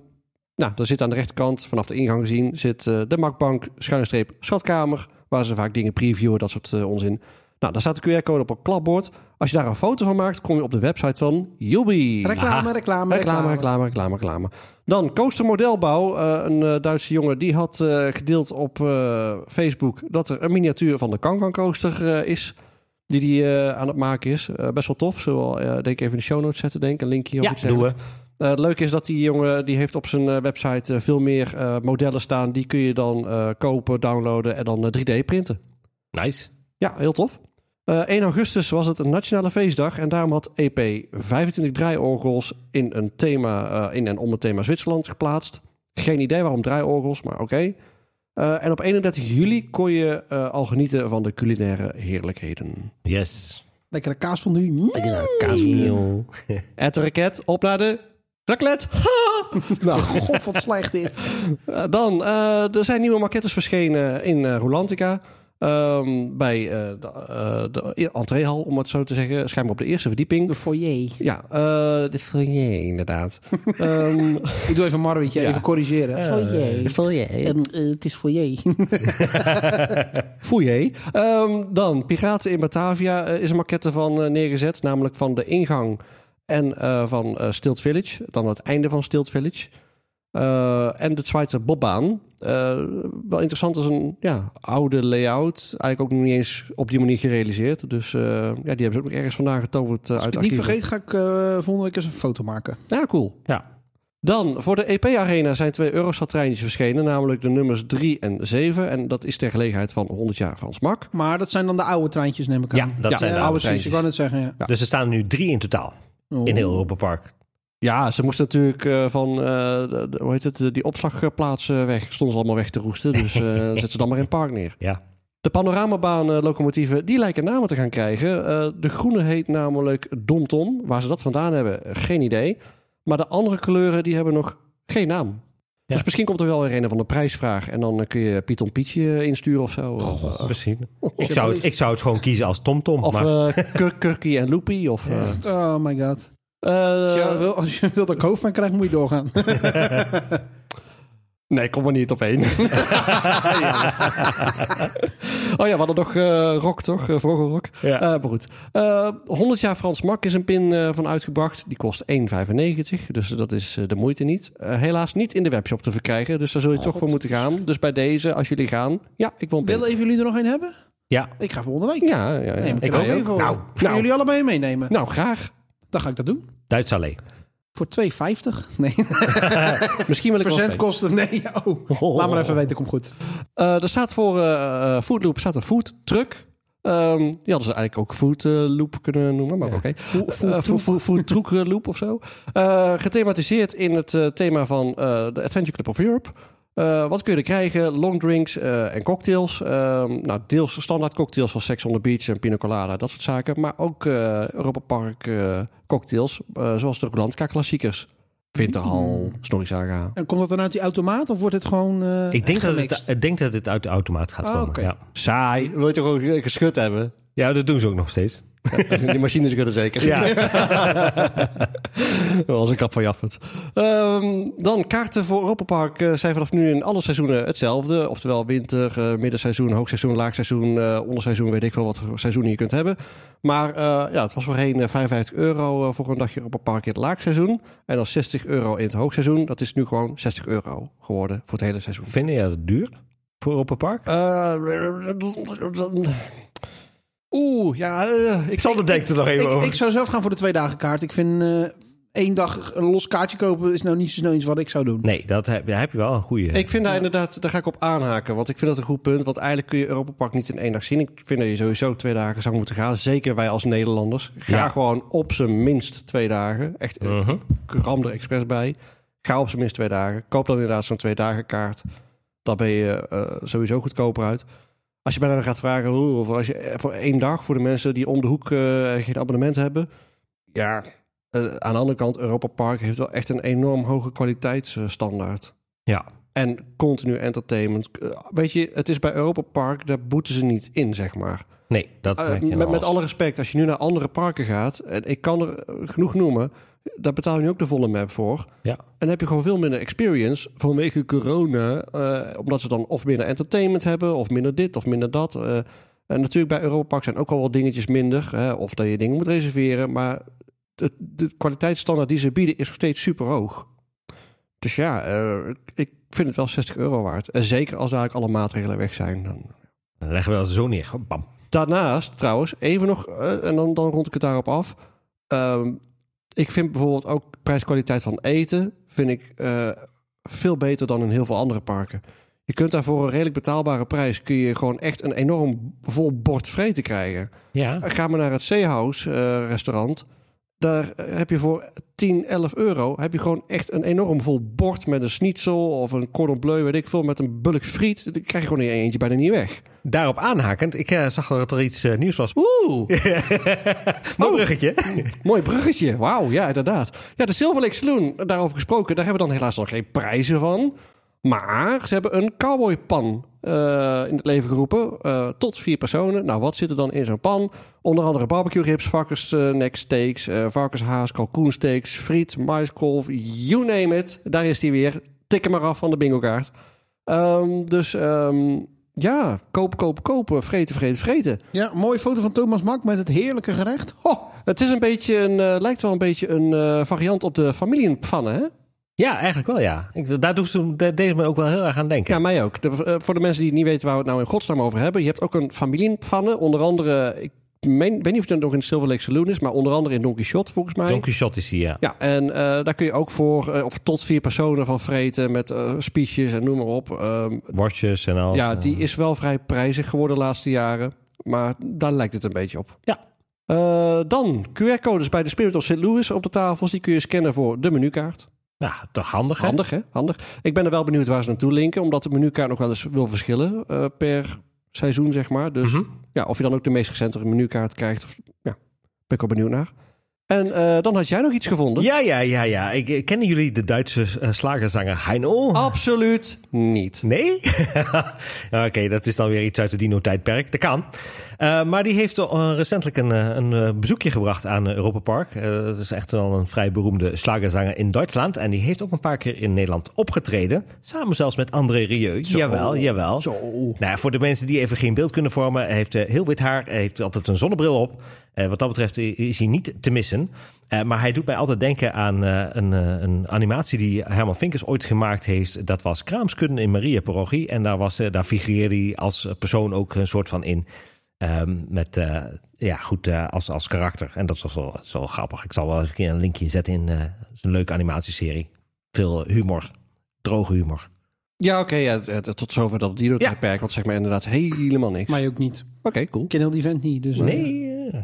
[SPEAKER 3] nou, daar zit aan de rechterkant, vanaf de ingang gezien, zit eh, de Makbank, schuine streep, Schatkamer. Waar ze vaak dingen previewen, dat soort eh, onzin. Nou, daar staat de QR-code op een klapbord. Als je daar een foto van maakt, kom je op de website van Yubi.
[SPEAKER 1] Reclame, reclame,
[SPEAKER 3] Reclame, reclame, reclame, reclame. Dan Coaster Modelbouw, eh, een eh, Duitse jongen, die had eh, gedeeld op eh, Facebook dat er een miniatuur van de Kankan Coaster eh, is. Die die eh, aan het maken is. Eh, best wel tof. Zullen we eh, denk ik even in de show notes zetten, denk ik. Een linkje of
[SPEAKER 2] Ja,
[SPEAKER 3] iets
[SPEAKER 2] doen we.
[SPEAKER 3] eh, het leuke is dat die jongen die heeft op zijn eh, website eh, veel meer eh, modellen staan. Die kun je dan eh, kopen, downloaden en dan eh, 3D printen.
[SPEAKER 2] Nice.
[SPEAKER 3] Ja, heel tof. Eh, 1 augustus was het een nationale feestdag en daarom had EP 25 draaiorgels in, een thema, eh, in en om het thema Zwitserland geplaatst. Geen idee waarom draaiorgels, maar oké. Eh, en op 31 juli kon je eh, al genieten van de culinaire heerlijkheden.
[SPEAKER 2] Yes.
[SPEAKER 1] Lekkere kaas van nu.
[SPEAKER 2] Kaasmeal.
[SPEAKER 3] Ed de raket, op naar de raclette.
[SPEAKER 1] Nou, god, wat slecht dit.
[SPEAKER 3] Eh, dan, eh, er zijn nieuwe maquettes verschenen in eh Rolantica. Ehm, bij eh, de, eh, de entreehal, om het zo te zeggen. Schijnbaar op de eerste verdieping.
[SPEAKER 1] De foyer.
[SPEAKER 3] Ja, eh de foyer inderdaad. Ehm
[SPEAKER 1] Ik doe even een marwietje, even corrigeren. foyer.
[SPEAKER 3] foyer.
[SPEAKER 1] En, eh, het is foyer.
[SPEAKER 3] Foyer. Ehm, dan, Piraten in Batavia eh, is een maquette van eh, neergezet. Namelijk van de ingang en eh, van eh, Stilt Village. Dan het einde van Stilt Village. Eh, en de Zwitser Bobbaan. Eh, wel interessant als een ja, oude layout. Eigenlijk ook nog niet eens op die manier gerealiseerd. Dus eh, ja, die hebben ze ook nog ergens vandaan getoverd eh,
[SPEAKER 1] Als ik
[SPEAKER 3] uit
[SPEAKER 1] het niet
[SPEAKER 3] archieven.
[SPEAKER 1] vergeet, ga ik eh, volgende week eens een foto maken.
[SPEAKER 3] Ja, cool.
[SPEAKER 2] Ja.
[SPEAKER 3] Dan, voor de EP-arena zijn twee Eurostad-treintjes verschenen, namelijk de nummers 3 en 7. En dat is ter gelegenheid van 100 jaar Frans Mak.
[SPEAKER 1] Maar dat zijn dan de oude treintjes, neem ik aan.
[SPEAKER 2] Ja, dat
[SPEAKER 3] Ja,
[SPEAKER 2] zijn de
[SPEAKER 3] ja,
[SPEAKER 2] oude
[SPEAKER 1] precies.
[SPEAKER 3] treintjes.
[SPEAKER 1] Ik wou net zeggen, ja.
[SPEAKER 2] Dus er staan nu drie in totaal
[SPEAKER 1] Oh.
[SPEAKER 2] in heel Europa Park.
[SPEAKER 3] Ja, ze moesten natuurlijk eh, van, eh, de- de- hoe heet het, eh, die opslagplaatsen weg. Stonden ze allemaal weg te roesten, dus eh zetten ze dan maar in het park neer.
[SPEAKER 2] Ja.
[SPEAKER 3] De panoramabaan-locomotieven, die lijken namen te gaan krijgen. Eh, de groene heet namelijk Domtom. Waar ze dat vandaan hebben, eh, geen idee. Maar de andere kleuren, die hebben nog geen naam.
[SPEAKER 2] Ja.
[SPEAKER 3] Dus misschien komt er wel weer een van de prijsvraag. En dan eh, kun je Piet on Pietje eh, insturen of zo.
[SPEAKER 2] Precies. Ik zou, het, ik zou het gewoon kiezen als TomTom.
[SPEAKER 3] Of
[SPEAKER 2] maar
[SPEAKER 3] eh, Kur- Kurkie en Loopy. Of, eh,
[SPEAKER 1] Oh my god. Als
[SPEAKER 3] eh,
[SPEAKER 1] je wil, als je wil dat ik hoofdpijn krijg, moet je doorgaan.
[SPEAKER 3] nee, kom maar niet op één. Ja. oh ja, we hadden nog eh, rock, toch? Uh, Vogelrok.
[SPEAKER 2] Ja.
[SPEAKER 3] Eh, maar goed. Eh, 100 jaar Frans Mak is een pin eh, van uitgebracht. Die kost 1,95. Dus dat is eh, de moeite niet. Eh, helaas niet in de webshop te verkrijgen. Dus daar zul je toch voor moeten gaan. Dus bij deze, als jullie gaan. Ja, ik wil een pin.
[SPEAKER 1] Willen even jullie er nog een hebben?
[SPEAKER 2] ja,
[SPEAKER 1] Ik ga volgende week.
[SPEAKER 3] Ja, ja, ja.
[SPEAKER 1] Neem ik,
[SPEAKER 2] Ik
[SPEAKER 1] er ook
[SPEAKER 2] ook.
[SPEAKER 1] even voor.
[SPEAKER 2] Nou,
[SPEAKER 1] Gaan jullie allebei een meenemen?
[SPEAKER 3] Nou, graag.
[SPEAKER 1] Dan ga ik dat doen.
[SPEAKER 2] Duits alleen.
[SPEAKER 1] Voor 2,50? Nee,
[SPEAKER 3] Misschien wil ik wel twee.
[SPEAKER 1] verzendkosten. Nee, oh. Laat maar even weten, ik kom goed.
[SPEAKER 3] Eh, er staat voor eh, eh, Foodloop staat een food truck. Ehm die hadden ze eigenlijk ook food eh, loop kunnen noemen, maar oké. Food, food, food truck eh, loop of zo. Eh, gethematiseerd in het eh, thema van eh, de Adventure Club of Europe. Eh, wat kun je er krijgen? Long drinks eh, en cocktails. Ehm, nou, deels standaard cocktails zoals Sex on the Beach en Pina Colada, dat soort zaken. Maar ook eh, Europa Park eh, cocktails, eh, zoals de Rolantica klassiekers. Winterhal, Snorrisaga.
[SPEAKER 1] En komt dat dan uit die automaat of wordt het gewoon... eh,
[SPEAKER 2] Ik denk dat,
[SPEAKER 1] gemixt?
[SPEAKER 2] het, ik denk dat het uit de automaat gaat
[SPEAKER 1] Ah,
[SPEAKER 2] komen.
[SPEAKER 1] oké.
[SPEAKER 2] Ja.
[SPEAKER 3] Saai. Wil je toch gewoon geschud hebben?
[SPEAKER 2] ja, dat doen ze ook nog steeds.
[SPEAKER 3] Die machines kunnen zeker.
[SPEAKER 2] Ja.
[SPEAKER 3] Dat was een kap van Jaffert. Ehm, dan kaarten voor Europa Park eh, zijn vanaf nu in alle seizoenen hetzelfde. Oftewel winter, eh, middenseizoen, hoogseizoen, laagseizoen, eh, onderseizoen. Weet ik veel wat voor seizoenen je kunt hebben. Maar eh, ja, het was voorheen eh, 55 euro eh, voor een dagje Europa Park in het laagseizoen. En dan 60 euro in het hoogseizoen. Dat is nu gewoon 60 euro geworden voor het hele seizoen.
[SPEAKER 2] Vind je dat duur voor Europa Park?
[SPEAKER 3] Eh, Oeh, ja. eh, ik
[SPEAKER 2] Sander denkt er nog even
[SPEAKER 1] Ik,
[SPEAKER 2] over.
[SPEAKER 1] ik zou zelf gaan voor de twee dagen kaart. Ik vind eh, één dag een los kaartje kopen is nou niet zo snel iets wat ik zou doen.
[SPEAKER 2] nee, dat heb, daar heb je wel een goede.
[SPEAKER 3] Ik vind daar inderdaad, daar ga ik op aanhaken. Want ik vind dat een goed punt. Want eigenlijk kun je Europa Park niet in één dag zien. Ik vind dat je sowieso twee dagen zou moeten gaan. Zeker wij als Nederlanders. Ga
[SPEAKER 2] Ja.
[SPEAKER 3] gewoon op zijn minst twee dagen. Echt, eh,
[SPEAKER 2] Mhm.
[SPEAKER 3] ram er expres bij. Ga op zijn minst twee dagen. Koop dan inderdaad zo'n twee dagen kaart. Dan ben je eh, sowieso goedkoper uit. Als je mij dan gaat vragen, hoe, of als je eh, voor één dag voor de mensen die om de hoek eh, geen abonnement hebben. Ja, eh, aan de andere kant, Europa Park heeft wel echt een enorm hoge kwaliteitsstandaard.
[SPEAKER 2] Ja.
[SPEAKER 3] En continu entertainment. Eh, Weet je, het is bij Europa Park, daar boeten ze niet in, zeg maar.
[SPEAKER 2] Nee, dat
[SPEAKER 3] Eh,
[SPEAKER 2] merk je
[SPEAKER 3] met,
[SPEAKER 2] wel
[SPEAKER 3] met
[SPEAKER 2] als-
[SPEAKER 3] alle respect, als je nu naar andere parken gaat, en ik kan er eh, genoeg noemen, daar betaal je nu ook de volle map voor.
[SPEAKER 2] Ja.
[SPEAKER 3] En dan heb je gewoon veel minder experience vanwege corona. eh, omdat ze dan of minder entertainment hebben, of minder dit, of minder dat. eh. en natuurlijk bij Europa Park zijn ook al wat dingetjes minder. Hè, of dat je dingen moet reserveren. Maar de, de kwaliteitsstandaard die ze bieden is nog steeds super hoog. Dus ja, eh, ik vind het wel 60 euro waard. En zeker als eigenlijk alle maatregelen weg zijn. Dan
[SPEAKER 2] Dan leggen we dat zo neer. Bam.
[SPEAKER 3] Daarnaast trouwens, even nog, eh, en dan, dan rond ik het daarop af. Ehm, ik vind bijvoorbeeld ook prijskwaliteit van eten vind ik, eh, veel beter dan in heel veel andere parken. Je kunt daar voor een redelijk betaalbare prijs kun je gewoon echt een enorm vol bord vreten krijgen.
[SPEAKER 2] Ja.
[SPEAKER 3] Ga maar naar het Zeehouse eh, restaurant. Daar eh, heb je voor 10, 11 euro heb je gewoon echt een enorm vol bord met een schnitzel of een cordon bleu, weet ik veel, met een bulk friet. Dan krijg je gewoon in je eentje bijna niet weg.
[SPEAKER 2] Daarop aanhakend, ik eh, zag dat er iets eh, nieuws was.
[SPEAKER 3] Oeh!
[SPEAKER 2] Mooi
[SPEAKER 3] Oh.
[SPEAKER 2] bruggetje.
[SPEAKER 3] Mooi bruggetje. Wauw, ja, inderdaad. Ja, de Silver Lake Saloon, daarover gesproken, daar hebben we dan helaas nog geen prijzen van. Maar ze hebben een cowboypan eh, in het leven geroepen. eh, tot vier personen. Nou, wat zit er dan in zo'n pan? Onder andere barbecue ribs, varkensnek steaks, eh, varkenshaas, kalkoensteaks, friet, maiskolf, you name it. Daar is die weer. Tik hem maar af van de bingo-kaart. Ehm, dus ehm, ja, koop, koop, kopen. Vreten, vreten, vreten.
[SPEAKER 1] Ja, mooie foto van Thomas Mak met het heerlijke gerecht. Ho!
[SPEAKER 3] Het is een beetje een, eh, lijkt wel een beetje een eh, variant op de familienpannen, hè?
[SPEAKER 2] Ja, eigenlijk wel ja. Ik, daar doet ze, daar deed me ook wel heel erg aan denken.
[SPEAKER 3] Ja, mij ook. De- eh, voor de mensen die niet weten waar we het nou in godsnaam over hebben. Je hebt ook een familienpannen. Onder andere, ik meen, weet niet of het nog in Silver Lake Saloon is, maar onder andere in Donkey Shot volgens mij.
[SPEAKER 2] Don Quixote is hier, ja.
[SPEAKER 3] Ja, en eh, daar kun je ook voor, eh, of tot vier personen van vreten met eh spiesjes en noem maar op. Ehm,
[SPEAKER 2] Worstjes en alles.
[SPEAKER 3] ja,
[SPEAKER 2] eh.
[SPEAKER 3] die is wel vrij prijzig geworden de laatste jaren. Maar daar lijkt het een beetje op.
[SPEAKER 2] Ja.
[SPEAKER 3] Eh, dan QR-codes bij de Spirit of St. Louis op de tafels. Die kun je scannen voor de menukaart.
[SPEAKER 2] Nou, toch handig, hè?
[SPEAKER 3] Handig, hè? Handig. Ik ben er wel benieuwd waar ze naartoe linken, omdat de menukaart nog wel eens wil verschillen eh, per seizoen, zeg maar. Dus
[SPEAKER 2] Mhm.
[SPEAKER 3] ja, of je dan ook de meest recente menukaart krijgt, of, ja, ben ik wel benieuwd naar. En eh, dan had jij nog iets gevonden?
[SPEAKER 2] Ja, ja, ja, ja. Ik, eh, kennen jullie de Duitse eh, slagerzanger Heino?
[SPEAKER 3] Oh. Absoluut niet.
[SPEAKER 2] Nee? Ja, Oké, dat is dan weer iets uit het dino-tijdperk. Dat kan. Eh, maar die heeft eh, recentelijk een, eh, een eh, bezoekje gebracht aan eh, Europa Park. Eh, dat is echt wel een vrij beroemde slagerzanger in Duitsland. En die heeft ook een paar keer in Nederland opgetreden. Samen zelfs met André Rieu. Jawel, jawel.
[SPEAKER 3] Zo.
[SPEAKER 2] Nou, ja, voor de mensen die even geen beeld kunnen vormen, hij heeft eh, heel wit haar, hij heeft altijd een zonnebril op. Eh, wat dat betreft i- is hij niet te missen. Eh, maar hij doet mij altijd denken aan eh, een, eh, een animatie die Herman Vinkers ooit gemaakt heeft. Dat was Kraamskudden in Maria Parochie. En daar, was, eh, daar figureerde hij als persoon ook een soort van in. Ehm, met, eh, ja, goed, eh, als, als karakter. En dat was wel, zo grappig. Ik zal wel eens een keer een linkje zetten in eh, het is een leuke animatieserie. Veel humor, droge humor.
[SPEAKER 3] Ja, oké, ja, eh, tot zover dat dino-tijdperk, want zeg maar inderdaad helemaal niks. Oké,
[SPEAKER 1] Maar je ook niet.
[SPEAKER 3] cool.
[SPEAKER 1] Ik ken heel die vent niet. Dus, eh,
[SPEAKER 2] Nee, eh,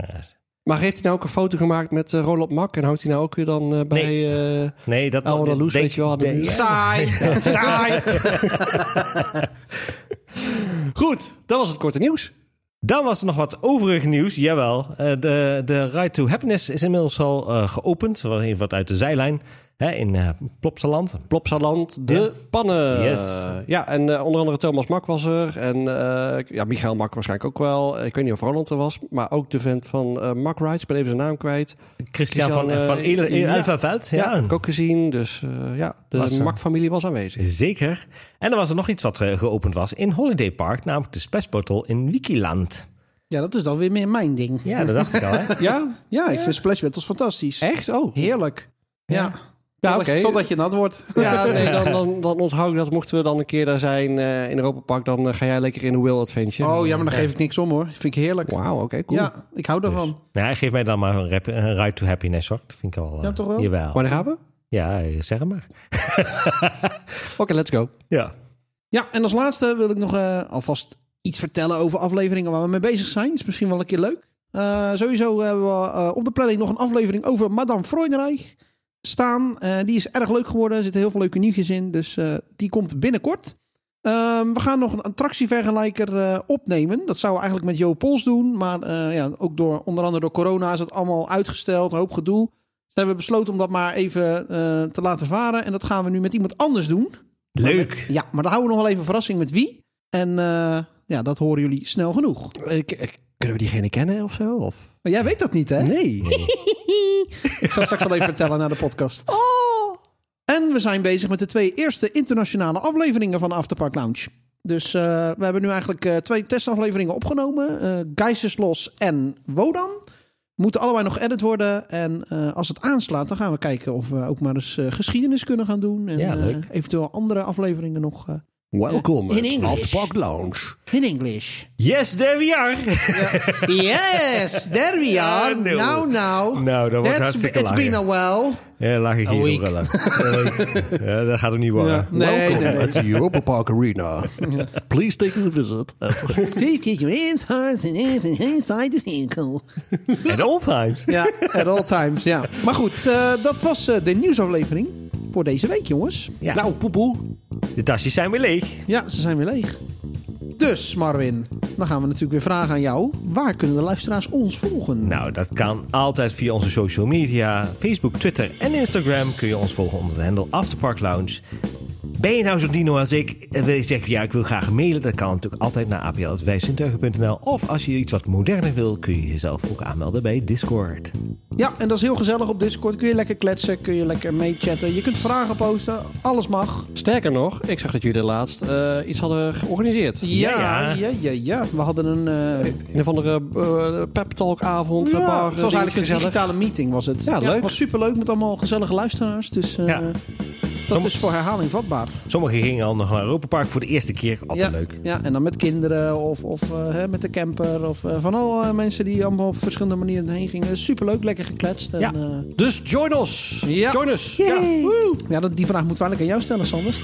[SPEAKER 3] Maar heeft hij nou ook een foto gemaakt met eh, Roland Mak en houdt hij nou ook weer dan eh, bij... eh,
[SPEAKER 2] Nee, dat
[SPEAKER 3] Oude
[SPEAKER 2] dat
[SPEAKER 3] Loes,
[SPEAKER 2] denk-
[SPEAKER 3] weet je wel, aan de
[SPEAKER 2] denk-
[SPEAKER 3] muur.
[SPEAKER 1] Saai. Saai.
[SPEAKER 3] Goed, dat was het korte nieuws.
[SPEAKER 2] Dan was er nog wat overig nieuws. Jawel, eh, de, de Ride to Happiness is inmiddels al eh, geopend. Wel Even wat uit de zijlijn hè, in eh Plopsaland.
[SPEAKER 3] Plopsaland, de pannen.
[SPEAKER 2] Yes.
[SPEAKER 3] Ja, en eh, onder andere Thomas Mak was er. En eh, ja, Michael Mak waarschijnlijk ook wel. Ik weet niet of Roland er was. Maar ook de vent van eh Mak Rides. Ik ben even zijn naam kwijt.
[SPEAKER 2] Christian van,
[SPEAKER 3] Christian,
[SPEAKER 2] van
[SPEAKER 3] eh,
[SPEAKER 2] Ele-
[SPEAKER 3] ja.
[SPEAKER 2] Elverveld,
[SPEAKER 3] Ja,
[SPEAKER 2] Ja.
[SPEAKER 3] heb ik ook gezien. Dus eh, ja,
[SPEAKER 2] Was
[SPEAKER 3] de
[SPEAKER 2] er.
[SPEAKER 3] Mak-familie was aanwezig.
[SPEAKER 2] Zeker. En er was er nog iets wat eh, geopend was in Holiday Park. Namelijk de Splash Bottle in Wikiland.
[SPEAKER 1] Ja, dat is dan weer meer mijn ding.
[SPEAKER 2] Ja, dat dacht ik al. Hè?
[SPEAKER 3] Ja?
[SPEAKER 1] Ja, ik vind Splash Battles fantastisch.
[SPEAKER 3] Echt? Oh.
[SPEAKER 1] Heerlijk. Ja.
[SPEAKER 3] Ja,
[SPEAKER 1] Totdat je-
[SPEAKER 3] oké.
[SPEAKER 1] Totdat je nat wordt.
[SPEAKER 3] Ja, nee, dan, dan, dan onthoud ik dat. Mochten we dan een keer daar zijn eh, in Europa Park, dan eh, ga jij lekker in de Will Adventure.
[SPEAKER 1] Oh ja, maar dan geef ik niks om hoor. Vind ik heerlijk.
[SPEAKER 3] Wauw, oké, cool.
[SPEAKER 1] Ja, ik hou daarvan.
[SPEAKER 2] Nou, hij geeft mij dan maar een, rap, een Ride to Happiness hoor. Dat vind ik al. eh,
[SPEAKER 1] Ja, toch wel?
[SPEAKER 2] Jawel.
[SPEAKER 3] Wanneer gaan we? Oké,
[SPEAKER 2] Ja, eh, zeg het maar.
[SPEAKER 3] let's go.
[SPEAKER 2] Ja.
[SPEAKER 1] Ja, en als laatste wil ik nog eh, alvast iets vertellen over afleveringen waar we mee bezig zijn. Is misschien wel een keer leuk. Eh, sowieso hebben we eh, op de planning nog een aflevering over Madame Freudenreich staan. Eh, die is erg leuk geworden. Er zitten heel veel leuke nieuwtjes in. Dus eh, die komt binnenkort. Ehm, we gaan nog een attractievergelijker eh, opnemen. Dat zouden we eigenlijk met Jo Pols doen. Maar eh, ja, ook door, onder andere door corona is het allemaal uitgesteld. Een hoop gedoe. Dus hebben we besloten om dat maar even eh, te laten varen. En dat gaan we nu met iemand anders doen.
[SPEAKER 2] Leuk.
[SPEAKER 1] Ja, maar dan houden we nog wel even een verrassing met wie. En eh, ja, dat horen jullie snel genoeg.
[SPEAKER 3] Eh, k- eh, Kunnen we diegene kennen of zo? Of?
[SPEAKER 1] Maar jij weet dat niet, hè?
[SPEAKER 3] Nee.
[SPEAKER 1] Ik zal het straks wel even vertellen na de podcast. En we zijn bezig met de twee eerste internationale afleveringen van Afterpark Lounge. Dus eh, we hebben nu eigenlijk eh, twee testafleveringen opgenomen. eh Geiseslos en Wodan. Moeten allebei nog edit worden. En eh, als het aanslaat, dan gaan we kijken of we ook maar eens eh, geschiedenis kunnen gaan doen. En
[SPEAKER 2] Ja,
[SPEAKER 1] eh,
[SPEAKER 2] leuk.
[SPEAKER 1] eventueel andere afleveringen nog eh,
[SPEAKER 3] Welkom
[SPEAKER 1] In
[SPEAKER 3] in
[SPEAKER 1] English.
[SPEAKER 3] Afterpark Lounge.
[SPEAKER 1] in English.
[SPEAKER 2] Yes, there we are.
[SPEAKER 1] Yes, there we are.
[SPEAKER 2] Ah, no.
[SPEAKER 1] Nou, nou.
[SPEAKER 2] Nou, dat wordt
[SPEAKER 1] That's-
[SPEAKER 2] hartstikke
[SPEAKER 1] It's been a
[SPEAKER 2] lachen.
[SPEAKER 1] while.
[SPEAKER 2] Ja, lag ik
[SPEAKER 1] Een
[SPEAKER 2] hier
[SPEAKER 1] week.
[SPEAKER 2] ook wel aan. Een week. Ja, dat gaat er niet worden.
[SPEAKER 1] Ja. Nee,
[SPEAKER 3] Welkom
[SPEAKER 1] nee, nee.
[SPEAKER 3] at the Europa Park Arena. Please take a visit.
[SPEAKER 1] Please keep your hands hard and inside the vehicle.
[SPEAKER 2] At all times.
[SPEAKER 1] Ja, at all times, ja. Maar goed, eh, dat was eh, de nieuwsaflevering voor deze week, jongens.
[SPEAKER 2] Ja.
[SPEAKER 3] Nou, poepoe.
[SPEAKER 2] De tasjes zijn weer leeg.
[SPEAKER 1] Ja, ze zijn weer leeg. Dus, Marwin, dan gaan we natuurlijk weer vragen aan jou. Waar kunnen de luisteraars ons volgen?
[SPEAKER 2] Nou, dat kan altijd via onze social media. Facebook, Twitter en Instagram kun je ons volgen onder de handle Afterpark Lounge. Ben je nou zo'n dino als ik en wil je zeggen, ja, ik wil graag mailen? Dat kan natuurlijk altijd naar apl.wijsintuigen.nl. Of als je iets wat moderner wil, kun je jezelf ook aanmelden bij Discord.
[SPEAKER 1] Ja, en dat is heel gezellig op Discord. Kun je lekker kletsen, kun je lekker meechatten. Je kunt vragen posten, alles mag.
[SPEAKER 3] Sterker nog, ik zag dat jullie laatst eh, iets hadden georganiseerd.
[SPEAKER 1] Ja, ja,
[SPEAKER 2] ja.
[SPEAKER 1] ja, ja. We hadden een... eh,
[SPEAKER 3] Een of andere eh, pep talk avond.
[SPEAKER 1] ja,
[SPEAKER 3] eh, bar,
[SPEAKER 1] het was eigenlijk een
[SPEAKER 3] dingetje gezellig.
[SPEAKER 1] digitale meeting, was het.
[SPEAKER 3] Ja, leuk.
[SPEAKER 1] Het was superleuk met allemaal gezellige luisteraars. Dus eh,
[SPEAKER 2] Ja.
[SPEAKER 1] dat is voor herhaling vatbaar.
[SPEAKER 2] Sommigen gingen al nog naar Europa Park voor de eerste keer. Altijd
[SPEAKER 1] ja,
[SPEAKER 2] leuk.
[SPEAKER 1] Ja, en dan met kinderen of, of eh, hè, met de camper. Of eh, van alle mensen die allemaal op verschillende manieren heen gingen. Superleuk, lekker gekletst. En,
[SPEAKER 2] Ja.
[SPEAKER 1] eh,
[SPEAKER 3] Dus join us.
[SPEAKER 1] Ja.
[SPEAKER 3] Join us.
[SPEAKER 1] ja, woe. ja dat, die vraag moeten we eigenlijk aan jou stellen, Sander.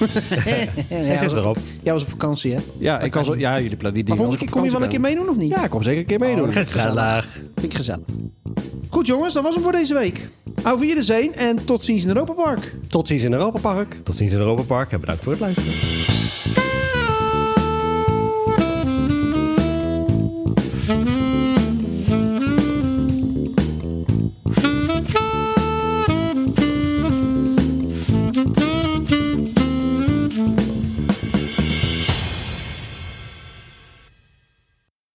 [SPEAKER 1] Hij
[SPEAKER 2] zit erop.
[SPEAKER 1] Jij was op vakantie, hè?
[SPEAKER 3] Ja, ik kan zo, ja jullie plannen die
[SPEAKER 1] Maar volgende
[SPEAKER 3] dingen
[SPEAKER 1] keer
[SPEAKER 3] als ik op
[SPEAKER 1] kom je wel een keer
[SPEAKER 3] vakantie
[SPEAKER 1] Oh, meedoen of niet?
[SPEAKER 3] ben. Ja, ik kom zeker een keer meedoen.
[SPEAKER 1] dat is
[SPEAKER 2] Gezellig.
[SPEAKER 1] Vind ik gezellig. Goed jongens, dat was hem voor deze week. Hou van jullie zeen en tot ziens in Europa Park.
[SPEAKER 3] Tot ziens in Europa Park.
[SPEAKER 2] Tot ziens in Europa Park en bedankt voor het luisteren.
[SPEAKER 4] Thank